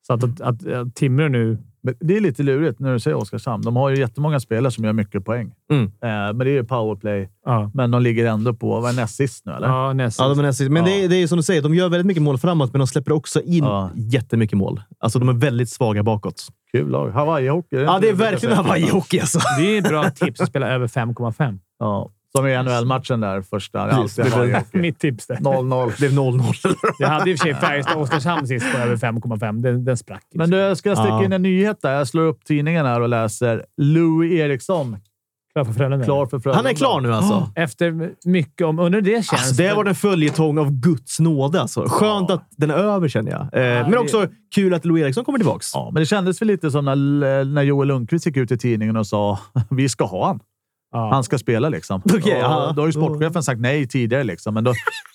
[SPEAKER 3] Så att, att, att, att Timrå nu...
[SPEAKER 2] Men det är lite lurigt när du säger Oskarshamn. De har ju jättemånga spelare som gör mycket poäng,
[SPEAKER 1] Mm.
[SPEAKER 2] eh, men det är ju powerplay.
[SPEAKER 3] Ja,
[SPEAKER 2] Men de ligger ändå på... Vad är näst sist nu, eller?
[SPEAKER 3] ja näst
[SPEAKER 1] Ja, de är näst sist. men
[SPEAKER 2] Ja.
[SPEAKER 1] det, är, det är ju som du säger, de gör väldigt mycket mål framåt, men de släpper också in
[SPEAKER 2] Ja.
[SPEAKER 1] jättemycket mål. Alltså, de är väldigt svaga bakåt.
[SPEAKER 2] Kul lag. Hawaii-hockey.
[SPEAKER 1] Ja,
[SPEAKER 2] inte
[SPEAKER 1] det är
[SPEAKER 2] brukar
[SPEAKER 1] verkligen
[SPEAKER 2] säga?
[SPEAKER 1] Hawaii-hockey alltså.
[SPEAKER 3] Det är ett bra tips att spela över 5,5.
[SPEAKER 2] Ja, som i NHL-matchen där första. Det är alltid
[SPEAKER 1] Precis.
[SPEAKER 2] Hawaii-hockey.
[SPEAKER 3] Mitt tips där.
[SPEAKER 2] 0-0.
[SPEAKER 1] Det blev 0-0.
[SPEAKER 3] Jag hade i och för sig Färjestad-Oskarshamn sist på över 5,5. Den, den sprack.
[SPEAKER 2] Men du, jag ska sticka
[SPEAKER 1] Ja.
[SPEAKER 2] in en nyhet där. Jag slår upp tidningen här och läser. Louis Eriksson,
[SPEAKER 3] Klar för Frölunda.
[SPEAKER 2] klar för Frölunda.
[SPEAKER 1] Han är klar nu alltså.
[SPEAKER 3] Efter mycket om... Undrar hur det känns.
[SPEAKER 1] Alltså, det var en följetong av Guds nåde. Alltså. Skönt
[SPEAKER 2] Ja.
[SPEAKER 1] att den är över, känner jag. Eh, men
[SPEAKER 3] det-
[SPEAKER 1] också kul att Louis Eriksson kommer tillbaka.
[SPEAKER 2] Ja, men det kändes väl lite som när, när Joel Lundqvist gick ut i tidningen och sa vi ska ha han.
[SPEAKER 3] Ja.
[SPEAKER 2] Han ska spela liksom.
[SPEAKER 1] Okej,
[SPEAKER 2] ja,
[SPEAKER 1] ja.
[SPEAKER 2] då har ju sportchefen sagt nej tidigare, liksom, men då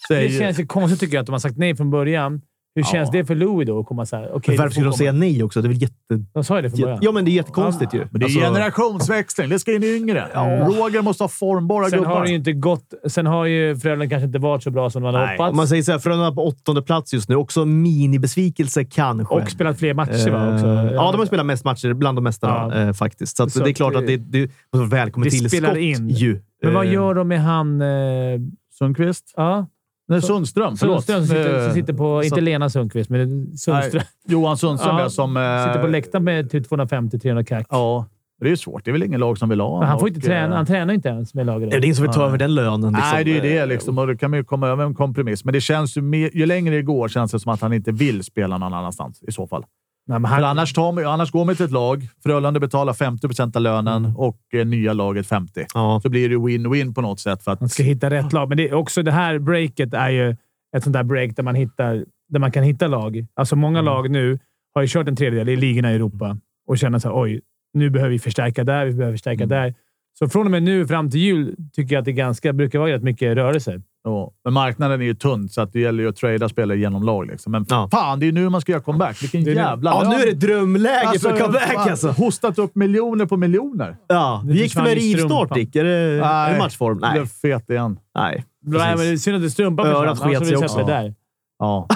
[SPEAKER 2] säger
[SPEAKER 3] Det känns ju konstigt tycker jag att de har sagt nej från början. Hur
[SPEAKER 2] Ja.
[SPEAKER 3] känns det för Louis då? Att komma så här, okay,
[SPEAKER 1] Men varför skulle de säga nej också? Det är väl jätte...
[SPEAKER 3] De sa ju det från början.
[SPEAKER 1] Ja, men det är jättekonstigt ju.
[SPEAKER 2] men det är
[SPEAKER 1] Alltså-
[SPEAKER 2] generationsväxling. Det ska in yngre. Roger måste ha formbara
[SPEAKER 3] Sen
[SPEAKER 2] gubbar.
[SPEAKER 3] har, det ju inte gått, sen har ju Frölunda kanske inte varit så bra som de hade
[SPEAKER 2] Nej.
[SPEAKER 1] Om man
[SPEAKER 3] hoppats.
[SPEAKER 1] säger så här, Frölunda på åttonde plats just nu. Också en minibesvikelse kanske.
[SPEAKER 3] Och spelat fler matcher va? Också.
[SPEAKER 1] Eh, Ja, de har spelat mest matcher. Bland de mesta
[SPEAKER 3] Ja.
[SPEAKER 1] eh, faktiskt. Så, att
[SPEAKER 3] Så
[SPEAKER 1] det är
[SPEAKER 3] att
[SPEAKER 1] klart
[SPEAKER 3] det-
[SPEAKER 1] att det, det, det välkommen
[SPEAKER 3] det
[SPEAKER 1] till
[SPEAKER 3] spelar
[SPEAKER 1] skott
[SPEAKER 3] in.
[SPEAKER 1] ju.
[SPEAKER 3] Men vad
[SPEAKER 1] Eh,
[SPEAKER 3] gör de med han... Eh,
[SPEAKER 2] Sundqvist?
[SPEAKER 3] ja,
[SPEAKER 2] Nej, Sundström. Förlåt.
[SPEAKER 3] Sundström som sitter, som sitter på...
[SPEAKER 2] Eh,
[SPEAKER 3] Inte
[SPEAKER 2] så-
[SPEAKER 3] Lena Sundqvist, men Sundström.
[SPEAKER 2] Nej, Johan Sundström
[SPEAKER 3] Ja,
[SPEAKER 2] ja, som... eh,
[SPEAKER 3] Sitter på läktaren med typ 250-300 kack.
[SPEAKER 2] Ja, det är ju svårt. Det är väl ingen lag som vill ha
[SPEAKER 3] Men han får
[SPEAKER 2] och,
[SPEAKER 3] inte träna.
[SPEAKER 2] eh,
[SPEAKER 3] Han tränar ju inte ens med laget.
[SPEAKER 1] Det är ingen som vill ta över den lönen. Liksom.
[SPEAKER 2] Nej, det är ju det.
[SPEAKER 1] Eh,
[SPEAKER 2] Liksom. Och då kan man ju komma över en kompromiss. Men det känns ju, mer, ju längre det går känns det som att han inte vill spela någon annanstans i så fall.
[SPEAKER 3] Nej, men
[SPEAKER 2] För
[SPEAKER 3] han,
[SPEAKER 2] annars, tar man, annars går man till ett lag. Frölunda betalar 50 procent av lönen
[SPEAKER 3] Mm.
[SPEAKER 2] och eh, nya laget 50.
[SPEAKER 1] Ja.
[SPEAKER 2] Så blir det ju win-win på något sätt. För
[SPEAKER 3] han
[SPEAKER 2] att,
[SPEAKER 3] ska hitta rätt lag. Men det är också det här breaket är ju ett sånt där break där man, hittar, där man kan hitta lag. Alltså
[SPEAKER 1] Mm.
[SPEAKER 3] många lag nu har ju kört en tredjedel i ligorna i Europa och känner så här, oj, nu behöver vi förstärka där, vi behöver förstärka
[SPEAKER 2] Mm.
[SPEAKER 3] där. Så från och med nu fram till jul tycker jag att det är ganska, brukar vara rätt mycket rörelse.
[SPEAKER 2] ja. Men marknaden är ju tunn, så att det gäller ju att trada spelare genom lag. Liksom. Men
[SPEAKER 1] Ja.
[SPEAKER 2] fan, det är ju nu man ska göra comeback. Vilken
[SPEAKER 3] Det är nu.
[SPEAKER 2] jävla
[SPEAKER 1] ja,
[SPEAKER 2] lön.
[SPEAKER 1] nu är det drömläge
[SPEAKER 2] Alltså,
[SPEAKER 1] för comeback
[SPEAKER 2] fan,
[SPEAKER 1] alltså.
[SPEAKER 2] Hostat upp miljoner på miljoner.
[SPEAKER 1] Ja.
[SPEAKER 3] Det
[SPEAKER 1] Hur gick det
[SPEAKER 3] försvann
[SPEAKER 1] med
[SPEAKER 3] i
[SPEAKER 1] rivstart,
[SPEAKER 3] strumpan.
[SPEAKER 1] Dick? Är det, är det matchform?
[SPEAKER 2] Blev
[SPEAKER 1] Nej.
[SPEAKER 2] fet igen.
[SPEAKER 1] Nej.
[SPEAKER 3] Nej, men det är synd att du strumpar
[SPEAKER 1] Örat
[SPEAKER 3] försvann, annars
[SPEAKER 1] sket sig
[SPEAKER 3] hade Alltså, vi
[SPEAKER 1] också.
[SPEAKER 3] sett det där.
[SPEAKER 2] Ja.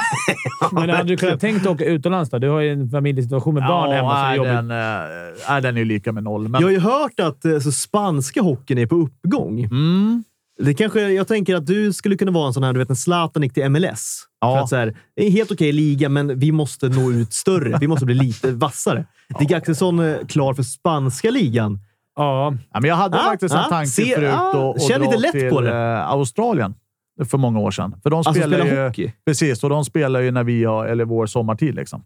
[SPEAKER 3] Men hade du kunnat tänkt åka utomlands då? Du har ju en familjesituation med barn hemma som är
[SPEAKER 2] är
[SPEAKER 3] jobbig.
[SPEAKER 2] den, eh, är den är ju lika med noll. Men,
[SPEAKER 1] Jag har ju hört att eh, så spanska hockeyn är på uppgång.
[SPEAKER 2] mm,
[SPEAKER 1] Det kanske, jag tänker att du skulle kunna vara en sån här, du vet, en Zlatan gick till MLS.
[SPEAKER 2] Ja.
[SPEAKER 1] För att så här, det är en helt okej liga, men vi måste nå ut större. Vi måste bli lite vassare. Dick Axelsson är klar för spanska ligan.
[SPEAKER 3] Ja,
[SPEAKER 2] ja, men jag hade
[SPEAKER 1] Ah,
[SPEAKER 2] faktiskt en
[SPEAKER 1] ah,
[SPEAKER 2] tanke
[SPEAKER 1] se-
[SPEAKER 2] förut
[SPEAKER 1] ah,
[SPEAKER 2] att- att
[SPEAKER 1] känn
[SPEAKER 2] dra
[SPEAKER 1] lite lätt
[SPEAKER 2] till
[SPEAKER 1] på det.
[SPEAKER 2] eh, Australien för många år sedan. För de
[SPEAKER 1] Alltså
[SPEAKER 2] spelar
[SPEAKER 1] spela
[SPEAKER 2] ju,
[SPEAKER 1] hockey.
[SPEAKER 2] Precis, och de spelar ju när vi har, eller vår sommartid. Liksom.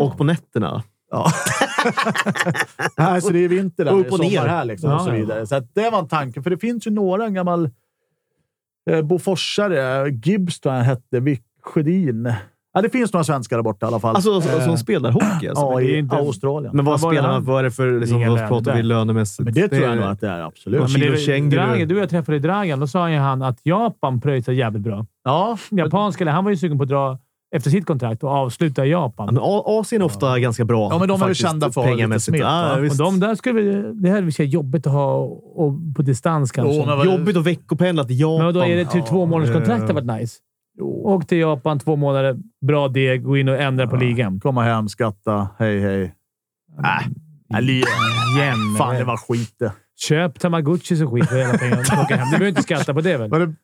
[SPEAKER 1] Och på nätterna.
[SPEAKER 2] Här, så det är vinter där,
[SPEAKER 1] Och upp och
[SPEAKER 2] det är sommar
[SPEAKER 1] ner.
[SPEAKER 2] här liksom, och
[SPEAKER 3] Ja,
[SPEAKER 2] så
[SPEAKER 3] ja.
[SPEAKER 2] vidare. Så att det var en tanke, för det finns ju några en gammal eh, boforsare. Gibbs tror jag han hette, Vic Sjödin. Ja, det finns några svenskar där borta i alla fall. Eh,
[SPEAKER 1] Alltså som, som spelar hockey. Alltså.
[SPEAKER 2] ja,
[SPEAKER 3] men det är
[SPEAKER 2] i
[SPEAKER 3] inte-
[SPEAKER 2] Australien.
[SPEAKER 1] Men vad
[SPEAKER 3] vad var det
[SPEAKER 1] spelar man?
[SPEAKER 3] han-
[SPEAKER 1] Vad är det för... Liksom,
[SPEAKER 3] Inga
[SPEAKER 1] vad
[SPEAKER 3] löner
[SPEAKER 1] pratar vi
[SPEAKER 3] där.
[SPEAKER 1] lönemässigt?
[SPEAKER 2] Men det tror jag
[SPEAKER 1] är-
[SPEAKER 2] nog att det är, absolut.
[SPEAKER 1] Och
[SPEAKER 3] Ja, men det
[SPEAKER 1] Kilo
[SPEAKER 3] är
[SPEAKER 1] Känguru.
[SPEAKER 3] Dragan, du och jag träffade Dragan. Då sa ju han att Japan pröjsar jävligt bra.
[SPEAKER 2] Ja,
[SPEAKER 3] Japanska, eller han var ju sugen på att dra efter sitt kontrakt och avsluta i
[SPEAKER 1] Ja,
[SPEAKER 3] Japan.
[SPEAKER 1] men A- Asien är ofta ganska bra.
[SPEAKER 2] Ja, men de är väl
[SPEAKER 1] faktiskt,
[SPEAKER 2] kända för att ha lite
[SPEAKER 1] pengamässigt.
[SPEAKER 2] smet, va?
[SPEAKER 1] ja,
[SPEAKER 3] Och
[SPEAKER 1] visst.
[SPEAKER 3] de där skulle vi, det här är i och för sig jobbigt att ha och på distans kanske.
[SPEAKER 2] Jo, men
[SPEAKER 3] men
[SPEAKER 2] vad-
[SPEAKER 1] Jobbigt att veckopendla till Japan.
[SPEAKER 3] då är det typ
[SPEAKER 2] Ja,
[SPEAKER 3] två månaders kontrakt
[SPEAKER 1] eh.
[SPEAKER 3] hade varit nice. Åk till Japan två månader, bra deg, gå in och ändra på ligan.
[SPEAKER 2] Komma hem, skatta, hej hej. Äh, li-
[SPEAKER 3] Igen.
[SPEAKER 2] Fan, det var skit det.
[SPEAKER 3] Köp tamagotchis och skit för hela pengarna och plocka hem. Du behöver inte skatta på det väl?
[SPEAKER 2] Var det...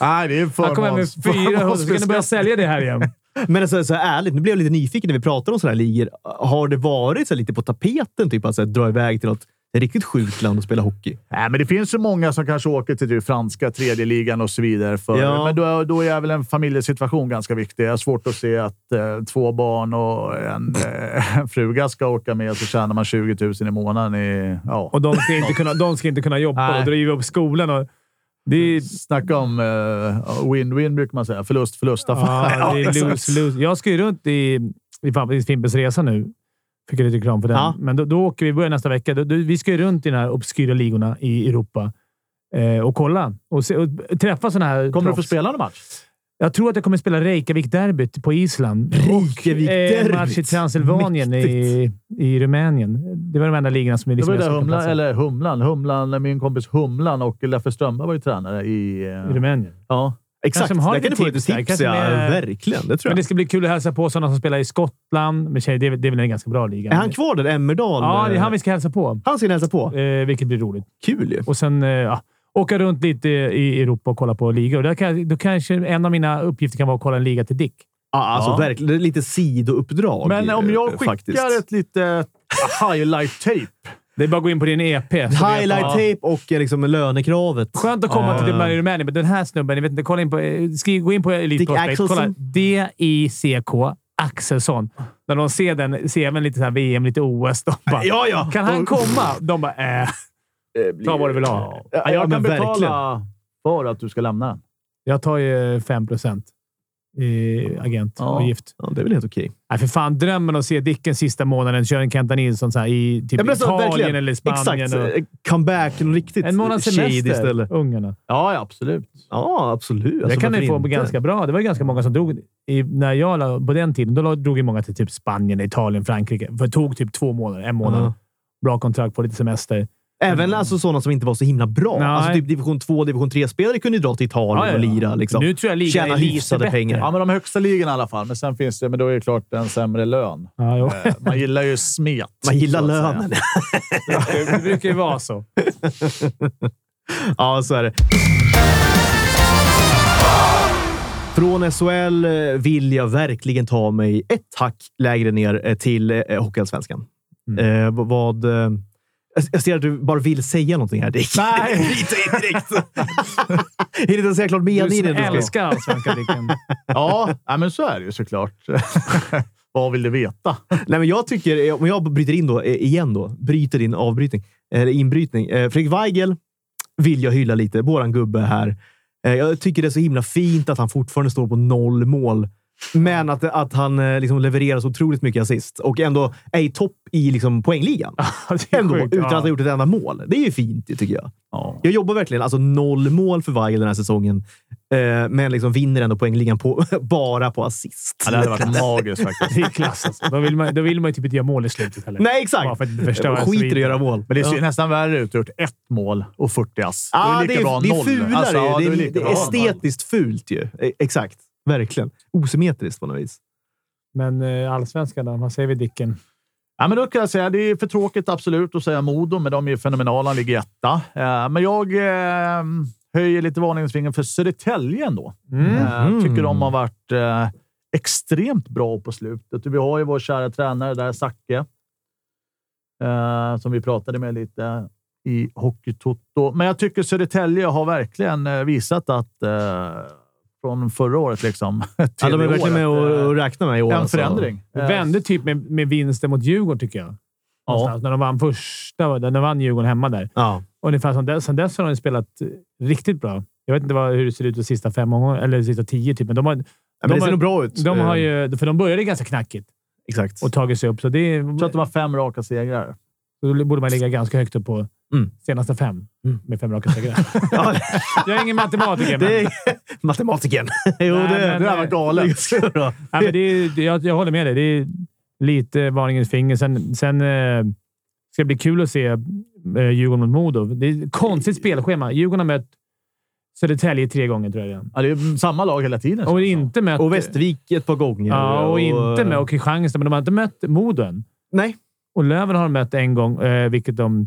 [SPEAKER 2] Nej, det är
[SPEAKER 3] Han kommer hem med
[SPEAKER 2] förmåns...
[SPEAKER 3] 400 så kan du börja
[SPEAKER 2] förmånsbeskattning.
[SPEAKER 3] sälja det här igen.
[SPEAKER 1] Men alltså, så här, ärligt, nu blev jag lite nyfiken när vi pratar om sådana här ligor. Har det varit så här, lite på tapeten typ, att så här, dra iväg till något riktigt sjukt land och spela hockey?
[SPEAKER 2] Nej, men det finns ju många som kanske åker till det franska tredje ligan och så vidare. För,
[SPEAKER 1] Ja.
[SPEAKER 2] Men då, är- då är väl en familjesituation ganska viktig. Jag har svårt att se att eh, två barn och en, eh, en fruga ska åka med så tjänar man 20 000 i månaden. I, ja.
[SPEAKER 3] Och de ska inte kunna, de ska inte kunna jobba
[SPEAKER 2] Nej.
[SPEAKER 3] och driva upp skolan. Och det är,
[SPEAKER 2] Snacka om eh, win-win brukar man säga. Förlust, förlust. affär.
[SPEAKER 3] ja, det är
[SPEAKER 2] exakt.
[SPEAKER 3] lose, lose. Jag ska ju runt i, i fan- i Fimpens Resa nu. Fick jag lite reklam för den.
[SPEAKER 1] Ja.
[SPEAKER 3] Men då, då åker vi, börjar nästa vecka. Då, då, vi ska ju runt i de här obskyra ligorna i Europa. eh, och kolla och, se, och träffa sådana här
[SPEAKER 2] Kommer du få
[SPEAKER 3] proffs.
[SPEAKER 2] spela någon match?
[SPEAKER 3] Jag tror att jag kommer spela Reykjavik-derbyt på Island.
[SPEAKER 1] Reykjavik-derbyt.
[SPEAKER 3] Eh, match i Transylvanien i, i Rumänien. Det var de enda ligorna som
[SPEAKER 2] Det
[SPEAKER 3] är
[SPEAKER 2] var
[SPEAKER 3] liksom
[SPEAKER 2] ju där
[SPEAKER 3] jag skulle
[SPEAKER 2] Humlan,
[SPEAKER 3] platsa.
[SPEAKER 2] eller Humlan, Humlan, min kompis Humlan och Leffe Strömberg var ju tränare i... eh,
[SPEAKER 3] i Rumänien.
[SPEAKER 2] Ja.
[SPEAKER 1] Exakt,
[SPEAKER 3] Kanske de har
[SPEAKER 1] där kan du
[SPEAKER 3] lite
[SPEAKER 1] få lite
[SPEAKER 3] tips där.
[SPEAKER 1] tips.
[SPEAKER 3] Kanske
[SPEAKER 1] Ja.
[SPEAKER 3] med-
[SPEAKER 1] Verkligen, det tror
[SPEAKER 3] Men
[SPEAKER 1] jag.
[SPEAKER 3] det ska bli kul att hälsa på sådana som spelar i Skottland. Men tjej, det, är, väl- det är väl en ganska bra liga.
[SPEAKER 1] Är han kvar där? Emmerdal?
[SPEAKER 3] Ja, det är han vi ska hälsa på.
[SPEAKER 1] Han ska ni hälsa på.
[SPEAKER 3] Eh, vilket blir roligt.
[SPEAKER 1] Kul ju.
[SPEAKER 3] Och sen eh, ja, åka runt lite i Europa och kolla på ligor. Där kan, jag- då kanske en av mina uppgifter kan vara att kolla en liga till Dick.
[SPEAKER 1] Ja, alltså
[SPEAKER 2] Ja.
[SPEAKER 1] verkligen. Det är lite sidouppdrag.
[SPEAKER 2] Men om jag
[SPEAKER 1] eh,
[SPEAKER 2] skickar ett litet highlight-tape.
[SPEAKER 3] Det är bara att gå in på din EP. så vet man.
[SPEAKER 1] Highlight tape och eh, liksom lönekravet.
[SPEAKER 3] Skönt att komma
[SPEAKER 1] Ja.
[SPEAKER 3] till Rumänien, Rumänien, men den här snubben, jag vet inte, kolla in på, eh, skri, gå in på Elite
[SPEAKER 1] Dick
[SPEAKER 3] Prospect. Kolla.
[SPEAKER 1] Axelsson.
[SPEAKER 3] D-I-C-K Axelsson. När de ser den, ser även lite så här VM, lite OS. De bara,
[SPEAKER 1] Ja, ja.
[SPEAKER 3] Kan han komma? De bara, eh, ta vad du vill ha.
[SPEAKER 2] Ja,
[SPEAKER 1] Ja,
[SPEAKER 2] jag
[SPEAKER 1] men
[SPEAKER 2] kan betala
[SPEAKER 1] verkligen.
[SPEAKER 2] för att du ska lämna.
[SPEAKER 3] Jag tar ju 5 procent i agentavgift.
[SPEAKER 1] Ja, det är väl helt okej.
[SPEAKER 3] Nej, för fan. Drömmen att se Dicken sista månaden, köra en Kenta Nilsson så här, i typ
[SPEAKER 1] Ja, men alltså,
[SPEAKER 3] Italien
[SPEAKER 1] verkligen.
[SPEAKER 3] eller Spanien.
[SPEAKER 1] Exakt.
[SPEAKER 3] Och,
[SPEAKER 1] eh, Comeback. En riktigt
[SPEAKER 3] en månads
[SPEAKER 1] shady
[SPEAKER 3] semester.
[SPEAKER 1] ställe.
[SPEAKER 3] Ungarna.
[SPEAKER 2] Ja, ja, absolut.
[SPEAKER 1] Ja, absolut.
[SPEAKER 3] det kan
[SPEAKER 1] Alltså, varför
[SPEAKER 3] ni få
[SPEAKER 1] inte?
[SPEAKER 3] ganska bra. Det var ju ganska många som drog. I, när jag la, på den tiden, då la- drog ju många till typ Spanien, Italien, Frankrike. För det tog typ två månader, en månad.
[SPEAKER 1] Ja.
[SPEAKER 3] Bra kontrakt, på lite semester.
[SPEAKER 1] Även alltså sådana som inte var så himla bra.
[SPEAKER 3] Nej.
[SPEAKER 1] Alltså typ division 2 division 3-spelare kunde ju dra till Italien
[SPEAKER 3] Ja, ja,
[SPEAKER 1] och
[SPEAKER 3] ja.
[SPEAKER 1] lira. Liksom.
[SPEAKER 3] Nu tror jag ligan
[SPEAKER 1] Tjäna
[SPEAKER 3] är lite
[SPEAKER 1] hyfsade
[SPEAKER 3] bättre.
[SPEAKER 1] pengar.
[SPEAKER 2] Ja, men de högsta ligorna i alla fall. Men sen finns det, men då är det klart en sämre lön.
[SPEAKER 3] Ja, jo.
[SPEAKER 2] Eh, Man gillar ju smet.
[SPEAKER 1] Man gillar
[SPEAKER 2] så att säga.
[SPEAKER 1] lönen.
[SPEAKER 3] det brukar ju vara så.
[SPEAKER 1] ja, så är det. Från SHL eh, vill jag verkligen ta mig ett hack lägre ner eh, till eh, Hockeyallsvenskan.
[SPEAKER 3] Mm.
[SPEAKER 1] Eh, vad- vad... Eh, jag- jag ser att du bara vill säga någonting här, Dick.
[SPEAKER 3] Nej.
[SPEAKER 1] Lite indirekt. Hinner inte ens säga klart meningen.
[SPEAKER 3] Du som
[SPEAKER 1] innan du ska-
[SPEAKER 3] älskar allsvenska Dicken.
[SPEAKER 2] Ja, ja, men så är det ju såklart. Vad vill du veta?
[SPEAKER 1] Nej, men jag tycker, om jag bryter in då, eh, igen då, bryter din avbrytning, eller inbrytning. Eh, Fredrik Weigel vill jag hylla lite, våran gubbe här. Eh, Jag tycker det är så himla fint att han fortfarande står på noll mål, men att, att han eh, liksom levererar så otroligt mycket assist och ändå är i topp i liksom poängligan.
[SPEAKER 3] Det är
[SPEAKER 1] Ändå,
[SPEAKER 3] sjukt,
[SPEAKER 1] utan
[SPEAKER 3] ja.
[SPEAKER 1] att ha gjort ett enda mål. Det är ju fint, det tycker jag.
[SPEAKER 2] Ja.
[SPEAKER 1] Jag jobbar verkligen. Alltså noll mål för Weigel den här säsongen, eh, men liksom vinner ändå poängligan på, bara på assist.
[SPEAKER 2] det hade varit magiskt faktiskt.
[SPEAKER 3] Det är klass alltså. Då vill man, då vill man ju typ inte göra mål i slutet heller.
[SPEAKER 1] Nej,
[SPEAKER 3] Bara
[SPEAKER 1] exakt!
[SPEAKER 3] för att förstöra
[SPEAKER 1] Skiter i att
[SPEAKER 3] sviten.
[SPEAKER 1] göra mål.
[SPEAKER 2] Men det ser
[SPEAKER 1] Ja.
[SPEAKER 2] ju nästan värre ut. Du har gjort ett mål och 40 ass. Då
[SPEAKER 1] Ja,
[SPEAKER 2] lika
[SPEAKER 1] det är,
[SPEAKER 2] bra
[SPEAKER 1] det är
[SPEAKER 2] noll.
[SPEAKER 1] fulare
[SPEAKER 2] Alltså, ja,
[SPEAKER 1] ju.
[SPEAKER 2] då
[SPEAKER 1] Det är,
[SPEAKER 2] lika
[SPEAKER 1] det är
[SPEAKER 2] bra noll.
[SPEAKER 1] estetiskt fult ju. E- Exakt. Verkligen. Osymmetriskt på något vis.
[SPEAKER 3] Men eh, allsvenskan då? Vad säger vi Dicken?
[SPEAKER 2] Ja, men då kan jag säga det är för tråkigt absolut att säga Modo, men de är ju fenomenala. Han ligger etta. Eh, Men jag eh, höjer lite varningsfingret för Södertälje ändå.
[SPEAKER 1] Mhm.
[SPEAKER 2] Jag tycker de har varit eh, extremt bra på slutet. Vi har ju vår kära tränare där, Zacke, eh, som vi pratade med lite i Hockeytoto. Men jag tycker Södertälje har verkligen eh, visat att eh, från förra året liksom, till
[SPEAKER 1] Ja, de är
[SPEAKER 2] i
[SPEAKER 1] verkligen med
[SPEAKER 2] året,
[SPEAKER 1] och, och räknar med i år.
[SPEAKER 2] eh, en
[SPEAKER 1] alltså.
[SPEAKER 2] förändring.
[SPEAKER 3] Det vände typ med, med vinsten mot Djurgården, tycker jag. Någonstans, När de vann första, när de vann Djurgården hemma där.
[SPEAKER 1] Ja.
[SPEAKER 3] Ungefär som dess, sen dess har de spelat eh, riktigt bra. Jag vet inte vad, hur det ser ut de sista fem omgångarna, eller de sista tio, typ. men de har,
[SPEAKER 1] Ja, men
[SPEAKER 3] de
[SPEAKER 1] det ser
[SPEAKER 3] har,
[SPEAKER 1] nog bra ut.
[SPEAKER 3] de har
[SPEAKER 1] Eh,
[SPEAKER 3] ju, för de började ganska knackigt
[SPEAKER 1] Exakt.
[SPEAKER 3] och tagit sig upp, så det
[SPEAKER 2] Jag tror Eh, att de har fem raka segrar.
[SPEAKER 3] då borde man ligga ganska högt upp på
[SPEAKER 1] Mm.
[SPEAKER 3] senaste fem.
[SPEAKER 1] Mm.
[SPEAKER 3] Med fem raka segrar.
[SPEAKER 1] Ja,
[SPEAKER 3] Jag är ingen matematiker, men,
[SPEAKER 1] det är matematiken. jo,
[SPEAKER 3] Nej,
[SPEAKER 1] det,
[SPEAKER 3] men-
[SPEAKER 1] det där var galet. Det bra.
[SPEAKER 3] ja, men det är, det- jag, jag håller med dig. Det är lite varningens finger. Sen, sen eh, ska det bli kul att se eh, Djurgården mot Modo. Det är ett konstigt spelschema. Djurgården har mött Södertälje tre gånger, tror jag redan.
[SPEAKER 2] Ja, det är samma lag hela tiden.
[SPEAKER 3] Och inte mött...
[SPEAKER 1] Och Västervik ett par gånger.
[SPEAKER 3] Ja, och inte med och Kristianstad, men de har inte mött Modo än.
[SPEAKER 1] Nej.
[SPEAKER 3] Och Löven har de mött en gång, eh, vilket de...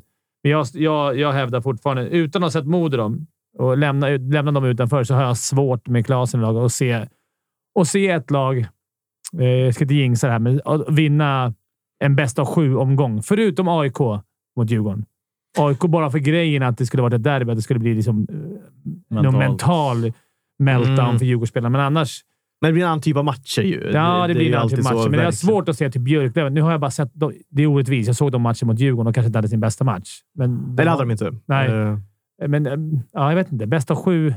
[SPEAKER 3] Men jag, jag, jag hävdar fortfarande, utan att ha sett Modo dem och lämna, ut- lämna dem utanför, så har jag svårt med Klasen i lag och se, och se ett lag, eh, jag ska inte jinxa det här, men att vinna en bästa av sju-omgång. Förutom AIK mot Djurgården. AIK bara för grejen att det skulle varit ett derby, att det skulle bli liksom, eh, någon
[SPEAKER 2] Mentalt.
[SPEAKER 3] mental meltdown
[SPEAKER 1] Mm.
[SPEAKER 3] för Djurgårdsspelarna. Men annars,
[SPEAKER 1] Men det blir en annan typ av matcher ju.
[SPEAKER 3] Ja, det,
[SPEAKER 1] är ju
[SPEAKER 3] blir en annan typ
[SPEAKER 1] alltid
[SPEAKER 3] av match.
[SPEAKER 1] så,
[SPEAKER 3] Men det är
[SPEAKER 1] verkligen.
[SPEAKER 3] svårt att se till Björklöven. Nu har jag bara sett... De, det är orättvist. Jag såg de matchen mot Djurgården och kanske inte hade sin bästa match. Men
[SPEAKER 1] Eller hade de inte.
[SPEAKER 3] Nej.
[SPEAKER 1] Eh,
[SPEAKER 3] Men eh, ja, jag vet inte. Bästa sju.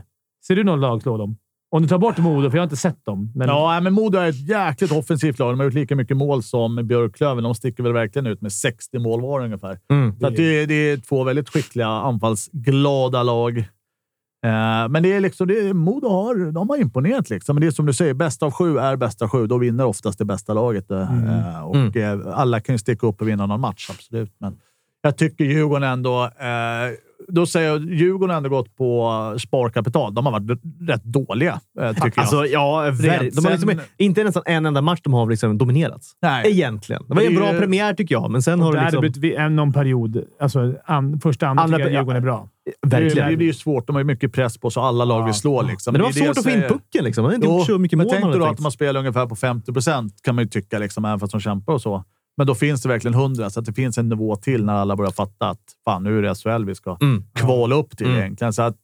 [SPEAKER 3] Ser du någon lag slå dem? Om du tar bort Modo, för jag har inte sett dem. Men
[SPEAKER 2] Ja, nej, men Modo är ett jäkligt offensivt lag. De har gjort lika mycket mål som Björklöven. De sticker väl verkligen ut med 60 mål var ungefär.
[SPEAKER 1] Mm.
[SPEAKER 2] Så att det, det är två väldigt skickliga, anfallsglada lag. Eh, men det är liksom, det är, Modo har, de har imponerat. Liksom. Men det är som du säger, bästa av sju är bästa av sju. Då vinner oftast det bästa laget. eh,
[SPEAKER 3] Mm.
[SPEAKER 2] och eh, Alla kan ju sticka upp och vinna någon match, absolut. Men jag tycker Djurgården ändå... Eh, då säger jag Djurgården har ändå gått på sparkapital. De har varit rätt dåliga, eh, tycker jag.
[SPEAKER 1] Alltså, ja, ver- de har liksom,
[SPEAKER 2] Sen-
[SPEAKER 1] inte nästan en enda match de har liksom dominerat.
[SPEAKER 2] Nej.
[SPEAKER 1] Egentligen. Det var ju en
[SPEAKER 2] Det är
[SPEAKER 1] bra
[SPEAKER 2] ju-
[SPEAKER 1] premiär tycker jag, men sen har
[SPEAKER 3] där
[SPEAKER 1] det
[SPEAKER 3] har det
[SPEAKER 1] liksom...
[SPEAKER 3] blivit vi- en- någon period. Alltså, an, första, andra,
[SPEAKER 1] Andra
[SPEAKER 3] tycker jag
[SPEAKER 1] per-
[SPEAKER 3] Djurgården är bra.
[SPEAKER 2] Det, det
[SPEAKER 1] Verkligen.
[SPEAKER 2] blir ju svårt. De har ju mycket press på sig och alla lag vill slå. Liksom.
[SPEAKER 1] Men det var
[SPEAKER 2] är
[SPEAKER 1] svårt
[SPEAKER 2] jag
[SPEAKER 1] att få in
[SPEAKER 2] säger.
[SPEAKER 1] pucken. Liksom. Man hade inte
[SPEAKER 2] Jo,
[SPEAKER 1] gjort så mycket
[SPEAKER 2] men
[SPEAKER 1] mål.
[SPEAKER 2] tänk
[SPEAKER 1] man
[SPEAKER 2] dig
[SPEAKER 1] hade
[SPEAKER 2] då att
[SPEAKER 1] tänkt.
[SPEAKER 2] man spelar ungefär på 50 procent, kan man ju tycka, liksom, även fast de kämpar och så. Men då finns det verkligen 100, så att det finns en nivå till när alla börjar fatta att fan, nu är det SHL vi ska
[SPEAKER 1] Mm.
[SPEAKER 2] kvala upp till
[SPEAKER 1] Mm.
[SPEAKER 2] egentligen. Så att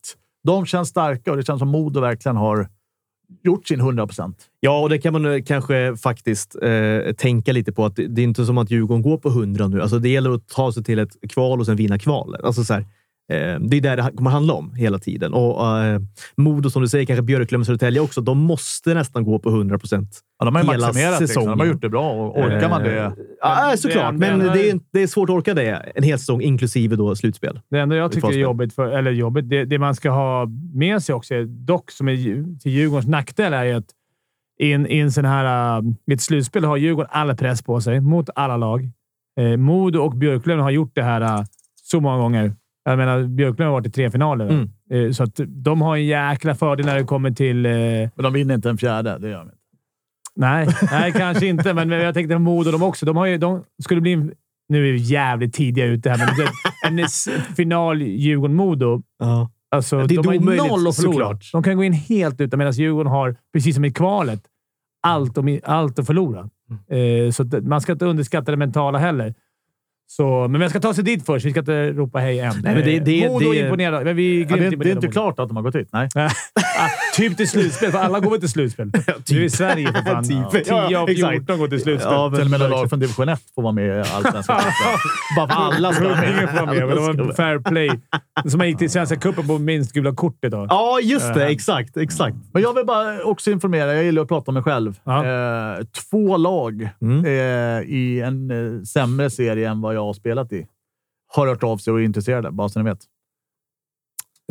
[SPEAKER 2] de känns starka och det känns som Modo verkligen har gjort sin 100 procent.
[SPEAKER 1] Ja, och det kan man eh, kanske faktiskt eh, tänka lite på. att Det det är inte som att Djurgården går på 100 nu. Alltså, det gäller att ta sig till ett kval och sen vinna kvalet. Alltså, så här, eh, det är där det ha- kommer handla om hela tiden. Och eh, Modo, som du säger, kanske Björklöven och Södertälje också. De måste nästan gå på 100 procent.
[SPEAKER 2] Ja, de har ju
[SPEAKER 1] Hela
[SPEAKER 2] maximerat liksom. De har
[SPEAKER 1] säsongen. Eh.
[SPEAKER 2] gjort det bra och orkar man det?
[SPEAKER 1] Ja, såklart,
[SPEAKER 3] det-
[SPEAKER 1] men
[SPEAKER 3] det-
[SPEAKER 1] det är, det är svårt att orka det en hel säsong, inklusive då slutspel.
[SPEAKER 3] Det enda
[SPEAKER 1] Vi
[SPEAKER 3] jag tycker
[SPEAKER 1] får
[SPEAKER 3] är
[SPEAKER 1] spela.
[SPEAKER 3] jobbigt, för, eller jobbigt, det, det man ska ha med sig också, är dock som är ju- till Djurgårdens nackdel, är ju att i en, i en sån här, äh, i ett slutspel har Djurgården all press på sig mot alla lag. Eh, Modo och Björklöven har gjort det här äh, så många gånger. Jag menar, Björklöven har varit i tre finaler.
[SPEAKER 1] Mm.
[SPEAKER 3] Eh, så att de har en jäkla fördel när det kommer till... Eh,
[SPEAKER 2] Men de vinner inte en fjärde. Det gör de inte.
[SPEAKER 3] Nej, nej kanske inte, men jag tänkte på Modo de också. De, har ju, de skulle bli... en- Nu är vi jävligt tidiga ute här, men det- en s- final Djurgården-Modo.
[SPEAKER 1] Ja.
[SPEAKER 3] Alltså,
[SPEAKER 1] Det är
[SPEAKER 3] de har ju
[SPEAKER 1] omöjligt,
[SPEAKER 3] noll att förlora.
[SPEAKER 1] såklart.
[SPEAKER 3] De kan gå in helt utan, medan Djurgården har, precis som i kvalet, allt, om, allt att förlora. Eh, så att man ska inte underskatta det mentala heller. Så, men vi ska ta sig dit först. Vi ska inte ropa hej än.
[SPEAKER 1] Nej, men det- det-
[SPEAKER 3] Eh, Modo
[SPEAKER 1] det-
[SPEAKER 3] imponerar. Men vi är
[SPEAKER 2] Ja,
[SPEAKER 3] grymt
[SPEAKER 2] det, är- det är inte
[SPEAKER 3] imponerade av Modo.
[SPEAKER 2] klart att de har gått ut. Nej.
[SPEAKER 3] Ah, typ till slutspel, för alla går väl till slutspel? Du är i Sverige för fan.
[SPEAKER 1] Typ. Ja,
[SPEAKER 3] 10 av
[SPEAKER 1] exakt.
[SPEAKER 3] 14 går till slutspel.
[SPEAKER 1] Ja,
[SPEAKER 2] Till och med
[SPEAKER 1] verkligen.
[SPEAKER 2] lag från division 1 får vara med i Allsvenskan. Bara för alla ska vara
[SPEAKER 3] Huddinge
[SPEAKER 2] med.
[SPEAKER 3] får vara med, men det var en fair play. Som gick till Svenska cupen på minst gula kort idag.
[SPEAKER 1] Ja, just
[SPEAKER 3] Eh.
[SPEAKER 1] det. Exakt, exakt.
[SPEAKER 2] Men jag vill bara också informera. Jag gillar att prata om mig själv.
[SPEAKER 3] Ja.
[SPEAKER 2] Eh, två lag
[SPEAKER 1] Mm.
[SPEAKER 2] eh, i en eh, sämre serie än vad jag har spelat i har hört av sig och är intresserade, bara så ni vet.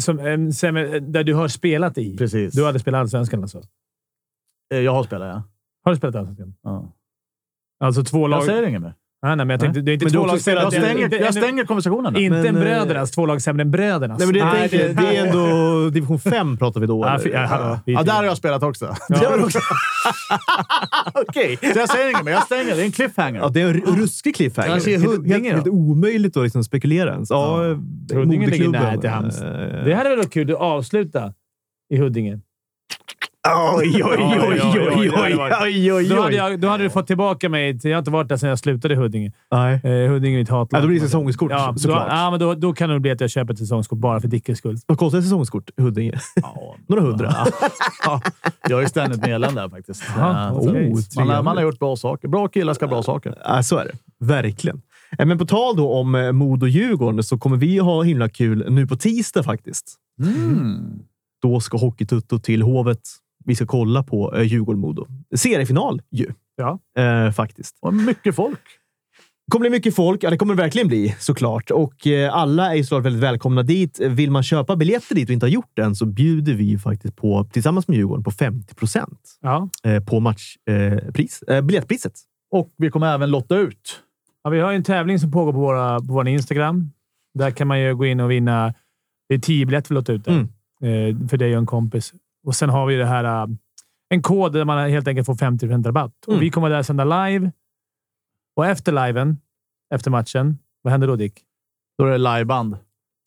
[SPEAKER 3] Som, em, sen, eh, där du har spelat i.
[SPEAKER 2] Precis.
[SPEAKER 3] Du har aldrig spelat Allsvenskan alltså?
[SPEAKER 2] Eh, jag har spelat, ja.
[SPEAKER 3] Har du spelat Allsvenskan?
[SPEAKER 2] ja.
[SPEAKER 3] Alltså två lag... Ah,
[SPEAKER 2] Jag säger inget mer.
[SPEAKER 3] Nej, nej, men jag tänkte... Det är inte
[SPEAKER 1] Men du har
[SPEAKER 3] två
[SPEAKER 1] också
[SPEAKER 3] lag
[SPEAKER 1] spelat-
[SPEAKER 2] Jag
[SPEAKER 1] Jag
[SPEAKER 2] stänger,
[SPEAKER 3] inte,
[SPEAKER 2] jag stänger konversationen.
[SPEAKER 3] inte
[SPEAKER 1] Men,
[SPEAKER 3] en
[SPEAKER 1] eh,
[SPEAKER 3] brödernas. Två lag sämre än brödernas.
[SPEAKER 1] Nej, men det,
[SPEAKER 2] Nej,
[SPEAKER 1] det,
[SPEAKER 2] det-
[SPEAKER 1] det är ändå division 5 pratar vi då.
[SPEAKER 3] Ja,
[SPEAKER 1] eller?
[SPEAKER 3] fy- ja, hallå.
[SPEAKER 2] Ja, där har jag spelat också.
[SPEAKER 1] Det har du också. Okej.
[SPEAKER 2] Så jag säger inget mer. Jag stänger. Det är en cliffhanger.
[SPEAKER 1] Ja, det är en r- ruskig cliffhanger.
[SPEAKER 2] Jag ser
[SPEAKER 1] Helt-
[SPEAKER 2] Alltså, Huddinge
[SPEAKER 1] helt,
[SPEAKER 2] då.
[SPEAKER 1] helt omöjligt att liksom spekulera ens. Ja, eh,
[SPEAKER 3] Huddinge ligger
[SPEAKER 1] moderklubben.
[SPEAKER 3] nära till Halmstad.
[SPEAKER 1] Eh,
[SPEAKER 3] Det hade väl varit kul att avsluta i Huddinge?
[SPEAKER 1] Oj, oj, oj, oj, oj,
[SPEAKER 3] Ja, ja,
[SPEAKER 1] oj,
[SPEAKER 3] ja, ja.
[SPEAKER 1] oj, oj,
[SPEAKER 3] Då hade,
[SPEAKER 1] oj.
[SPEAKER 3] jag, då hade du fått tillbaka mig. till- Jag har inte varit där sedan jag slutade i Huddinge.
[SPEAKER 1] Nej.
[SPEAKER 3] Eh, Huddinge är mitt hatlag.
[SPEAKER 1] Ja, då blir det säsongskort
[SPEAKER 3] Ja, då,
[SPEAKER 1] såklart.
[SPEAKER 3] ja, men då, då kan det bli att jag köper ett säsongskort bara för Dickes skull.
[SPEAKER 1] Vad kostar ett säsongskort i Huddinge?
[SPEAKER 2] Ja.
[SPEAKER 1] Några hundra?
[SPEAKER 2] Ja, jag är ständigt medlem där faktiskt.
[SPEAKER 3] Jaha,
[SPEAKER 2] Eh, så
[SPEAKER 3] okej.
[SPEAKER 2] man, har- man har gjort bra saker. Bra killar ska ha bra saker.
[SPEAKER 1] Ja, så är det. Verkligen. Eh, Men på tal då om eh, Modo och Djurgården så kommer vi ha himla kul nu på tisdag faktiskt.
[SPEAKER 3] Mm.
[SPEAKER 2] Mm.
[SPEAKER 1] Då ska Hockeytutto till Hovet. Vi ska kolla på eh, Djurgården-Modo. Seriefinal ju.
[SPEAKER 3] Ja.
[SPEAKER 1] Eh, faktiskt.
[SPEAKER 2] Och mycket folk.
[SPEAKER 1] Det kommer bli mycket folk. Ja, det kommer det verkligen bli såklart. Och eh, alla är ju såklart väldigt välkomna dit. Eh, Vill man köpa biljetter dit och inte har gjort det än så bjuder vi ju faktiskt på, tillsammans med Djurgården, på 50 procent eh,
[SPEAKER 3] Ja.
[SPEAKER 1] på matchpris, eh, pris- eh, biljettpriset.
[SPEAKER 2] Och vi kommer även lotta ut.
[SPEAKER 3] ja, vi har ju en tävling som pågår på, våra, på vår Instagram. Där kan man ju gå in och vinna. Det är tio biljetter vi låter ut där.
[SPEAKER 1] Mm.
[SPEAKER 3] Eh, för dig och en kompis. Och sen har vi det här... eh, En kod där man helt enkelt får 50 rabatt.
[SPEAKER 1] Mm.
[SPEAKER 3] Och vi kommer där sända live. Och efter liven, efter matchen, vad händer då Dick?
[SPEAKER 2] Då är det liveband.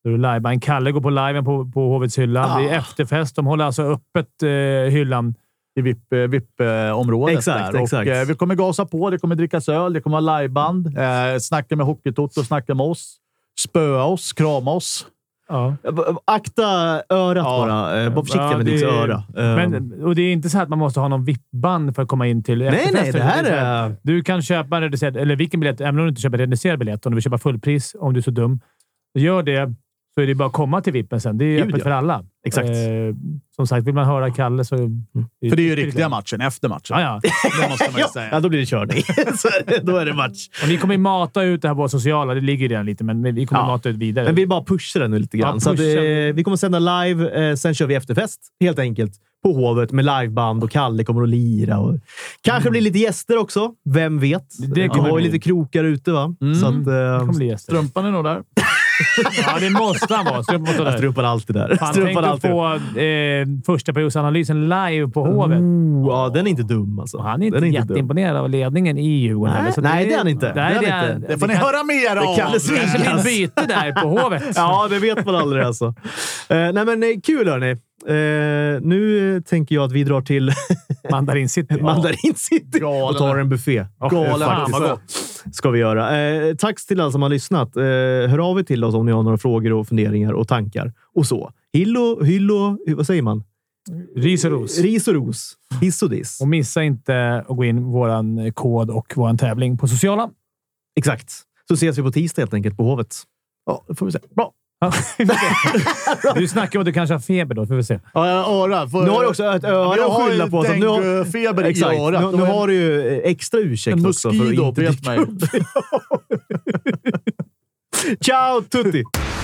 [SPEAKER 3] Då är det liveband. Kalle går på liven på, på Hovets hylla. Det är
[SPEAKER 1] Ah.
[SPEAKER 3] efterfest. De håller alltså öppet eh, hyllan.
[SPEAKER 2] i VIP-området.
[SPEAKER 1] Exakt,
[SPEAKER 2] där.
[SPEAKER 1] exakt.
[SPEAKER 2] Och, eh, vi kommer gasa på, det kommer drickas öl, det kommer vara liveband, eh, snacka med Hockeytoto, snacka med oss, spöa oss, krama oss.
[SPEAKER 3] Ja.
[SPEAKER 1] Eh, Akta örat
[SPEAKER 2] Ja.
[SPEAKER 1] bara. Eh, Var försiktig
[SPEAKER 3] Ja,
[SPEAKER 1] med
[SPEAKER 3] det-
[SPEAKER 1] ditt öra. Eh,
[SPEAKER 3] Men, och det är inte så att man måste ha någon VIP-band för att komma in till
[SPEAKER 1] nej, nej. Det här är...
[SPEAKER 3] Du kan köpa en reducerad, eller vilken biljett, även om du inte köper en reducerad biljett. Om du vill köpa fullpris, om du är så dum. Gör det, så är det bara att komma till VIPen sen. Det är
[SPEAKER 1] Gud,
[SPEAKER 3] öppet
[SPEAKER 1] ja.
[SPEAKER 3] för alla.
[SPEAKER 1] Exakt.
[SPEAKER 3] Eh, som sagt, vill man höra Kalle så...
[SPEAKER 2] För det är ju riktiga matchen efter matchen.
[SPEAKER 3] Ja, ja.
[SPEAKER 2] Det måste man ju
[SPEAKER 1] Ja, ja,
[SPEAKER 2] säga.
[SPEAKER 1] då blir det körning. Så är det- då är det match.
[SPEAKER 3] Och ni kommer ju mata ut det här på sociala. Det ligger ju redan lite, men vi kommer
[SPEAKER 1] Ja.
[SPEAKER 3] mata ut vidare.
[SPEAKER 1] Men vi bara pushar den nu lite grann.
[SPEAKER 3] Ja,
[SPEAKER 1] så att, eh,
[SPEAKER 3] pusha.
[SPEAKER 1] vi kommer sända live, eh, sen kör vi efterfest helt enkelt. På Hovet med liveband och Kalle kommer att lira. Och... Kanske blir lite gäster också. Vem vet?
[SPEAKER 3] Mm. det
[SPEAKER 1] vi
[SPEAKER 3] kommer
[SPEAKER 1] har ju
[SPEAKER 3] bli.
[SPEAKER 1] lite krokar ute, va?
[SPEAKER 2] Mm.
[SPEAKER 1] Så att,
[SPEAKER 3] Det
[SPEAKER 1] eh,
[SPEAKER 3] kommer bli gäster.
[SPEAKER 2] Strumpan är nog där.
[SPEAKER 3] Ja, det måste han vara. Strumpan måste
[SPEAKER 1] jag
[SPEAKER 3] vara där.
[SPEAKER 1] strumpar alltid där.
[SPEAKER 3] Fan, tänk
[SPEAKER 1] strumpar
[SPEAKER 3] att
[SPEAKER 1] alltid.
[SPEAKER 3] få eh, första periodsanalysen live på Hovet.
[SPEAKER 1] Oh, ja, den är inte dum alltså.
[SPEAKER 3] Och han är inte,
[SPEAKER 1] den
[SPEAKER 3] jätteimponerad av ledningen i Djurgården.
[SPEAKER 1] Nej,
[SPEAKER 3] heller,
[SPEAKER 1] nej, det är han inte. Det är
[SPEAKER 3] Nej, det,
[SPEAKER 1] han
[SPEAKER 3] är,
[SPEAKER 1] inte.
[SPEAKER 2] Det får ni höra mer om.
[SPEAKER 1] Kalle
[SPEAKER 3] kanske blir ett byte där på Hovet.
[SPEAKER 1] Ja, det vet man aldrig alltså. Eh, nej, men eh, kul hörni. Eh, nu eh, tänker jag att vi drar till
[SPEAKER 3] Mandarin City.
[SPEAKER 1] Mandarin City
[SPEAKER 2] Galen.
[SPEAKER 1] och tar en buffé.
[SPEAKER 2] Galen
[SPEAKER 1] Faktiskt.
[SPEAKER 2] buffé.
[SPEAKER 1] ska vi göra. Eh, tack till alla som har lyssnat. Eh, hör av er till oss om ni har några frågor och funderingar och tankar och så. Hillo, hyllo, vad säger man?
[SPEAKER 3] Ris och ros.
[SPEAKER 1] Ris och ros. Hiss och diss.
[SPEAKER 3] Och missa inte att gå in vår kod och vår tävling på sociala.
[SPEAKER 1] Exakt. Så ses vi på tisdag helt enkelt på Hovet.
[SPEAKER 2] Ja, det får vi se. Bra.
[SPEAKER 3] Ja, vi får se. du snackar om att du kanske har feber då. Får vi se.
[SPEAKER 2] Ja, jag har öra. Får-
[SPEAKER 1] Nu har du också ett öra
[SPEAKER 2] Jag har
[SPEAKER 1] att
[SPEAKER 2] ju
[SPEAKER 1] skylla på. så Nu har,
[SPEAKER 2] denguefeber i
[SPEAKER 1] exakt.
[SPEAKER 2] örat.
[SPEAKER 1] Nu, nu har du ju eh, extra
[SPEAKER 2] En
[SPEAKER 1] ursäkt också för att
[SPEAKER 2] moskito
[SPEAKER 1] inte
[SPEAKER 2] bet
[SPEAKER 1] dyka
[SPEAKER 2] mig.
[SPEAKER 1] upp. Ciao tutti!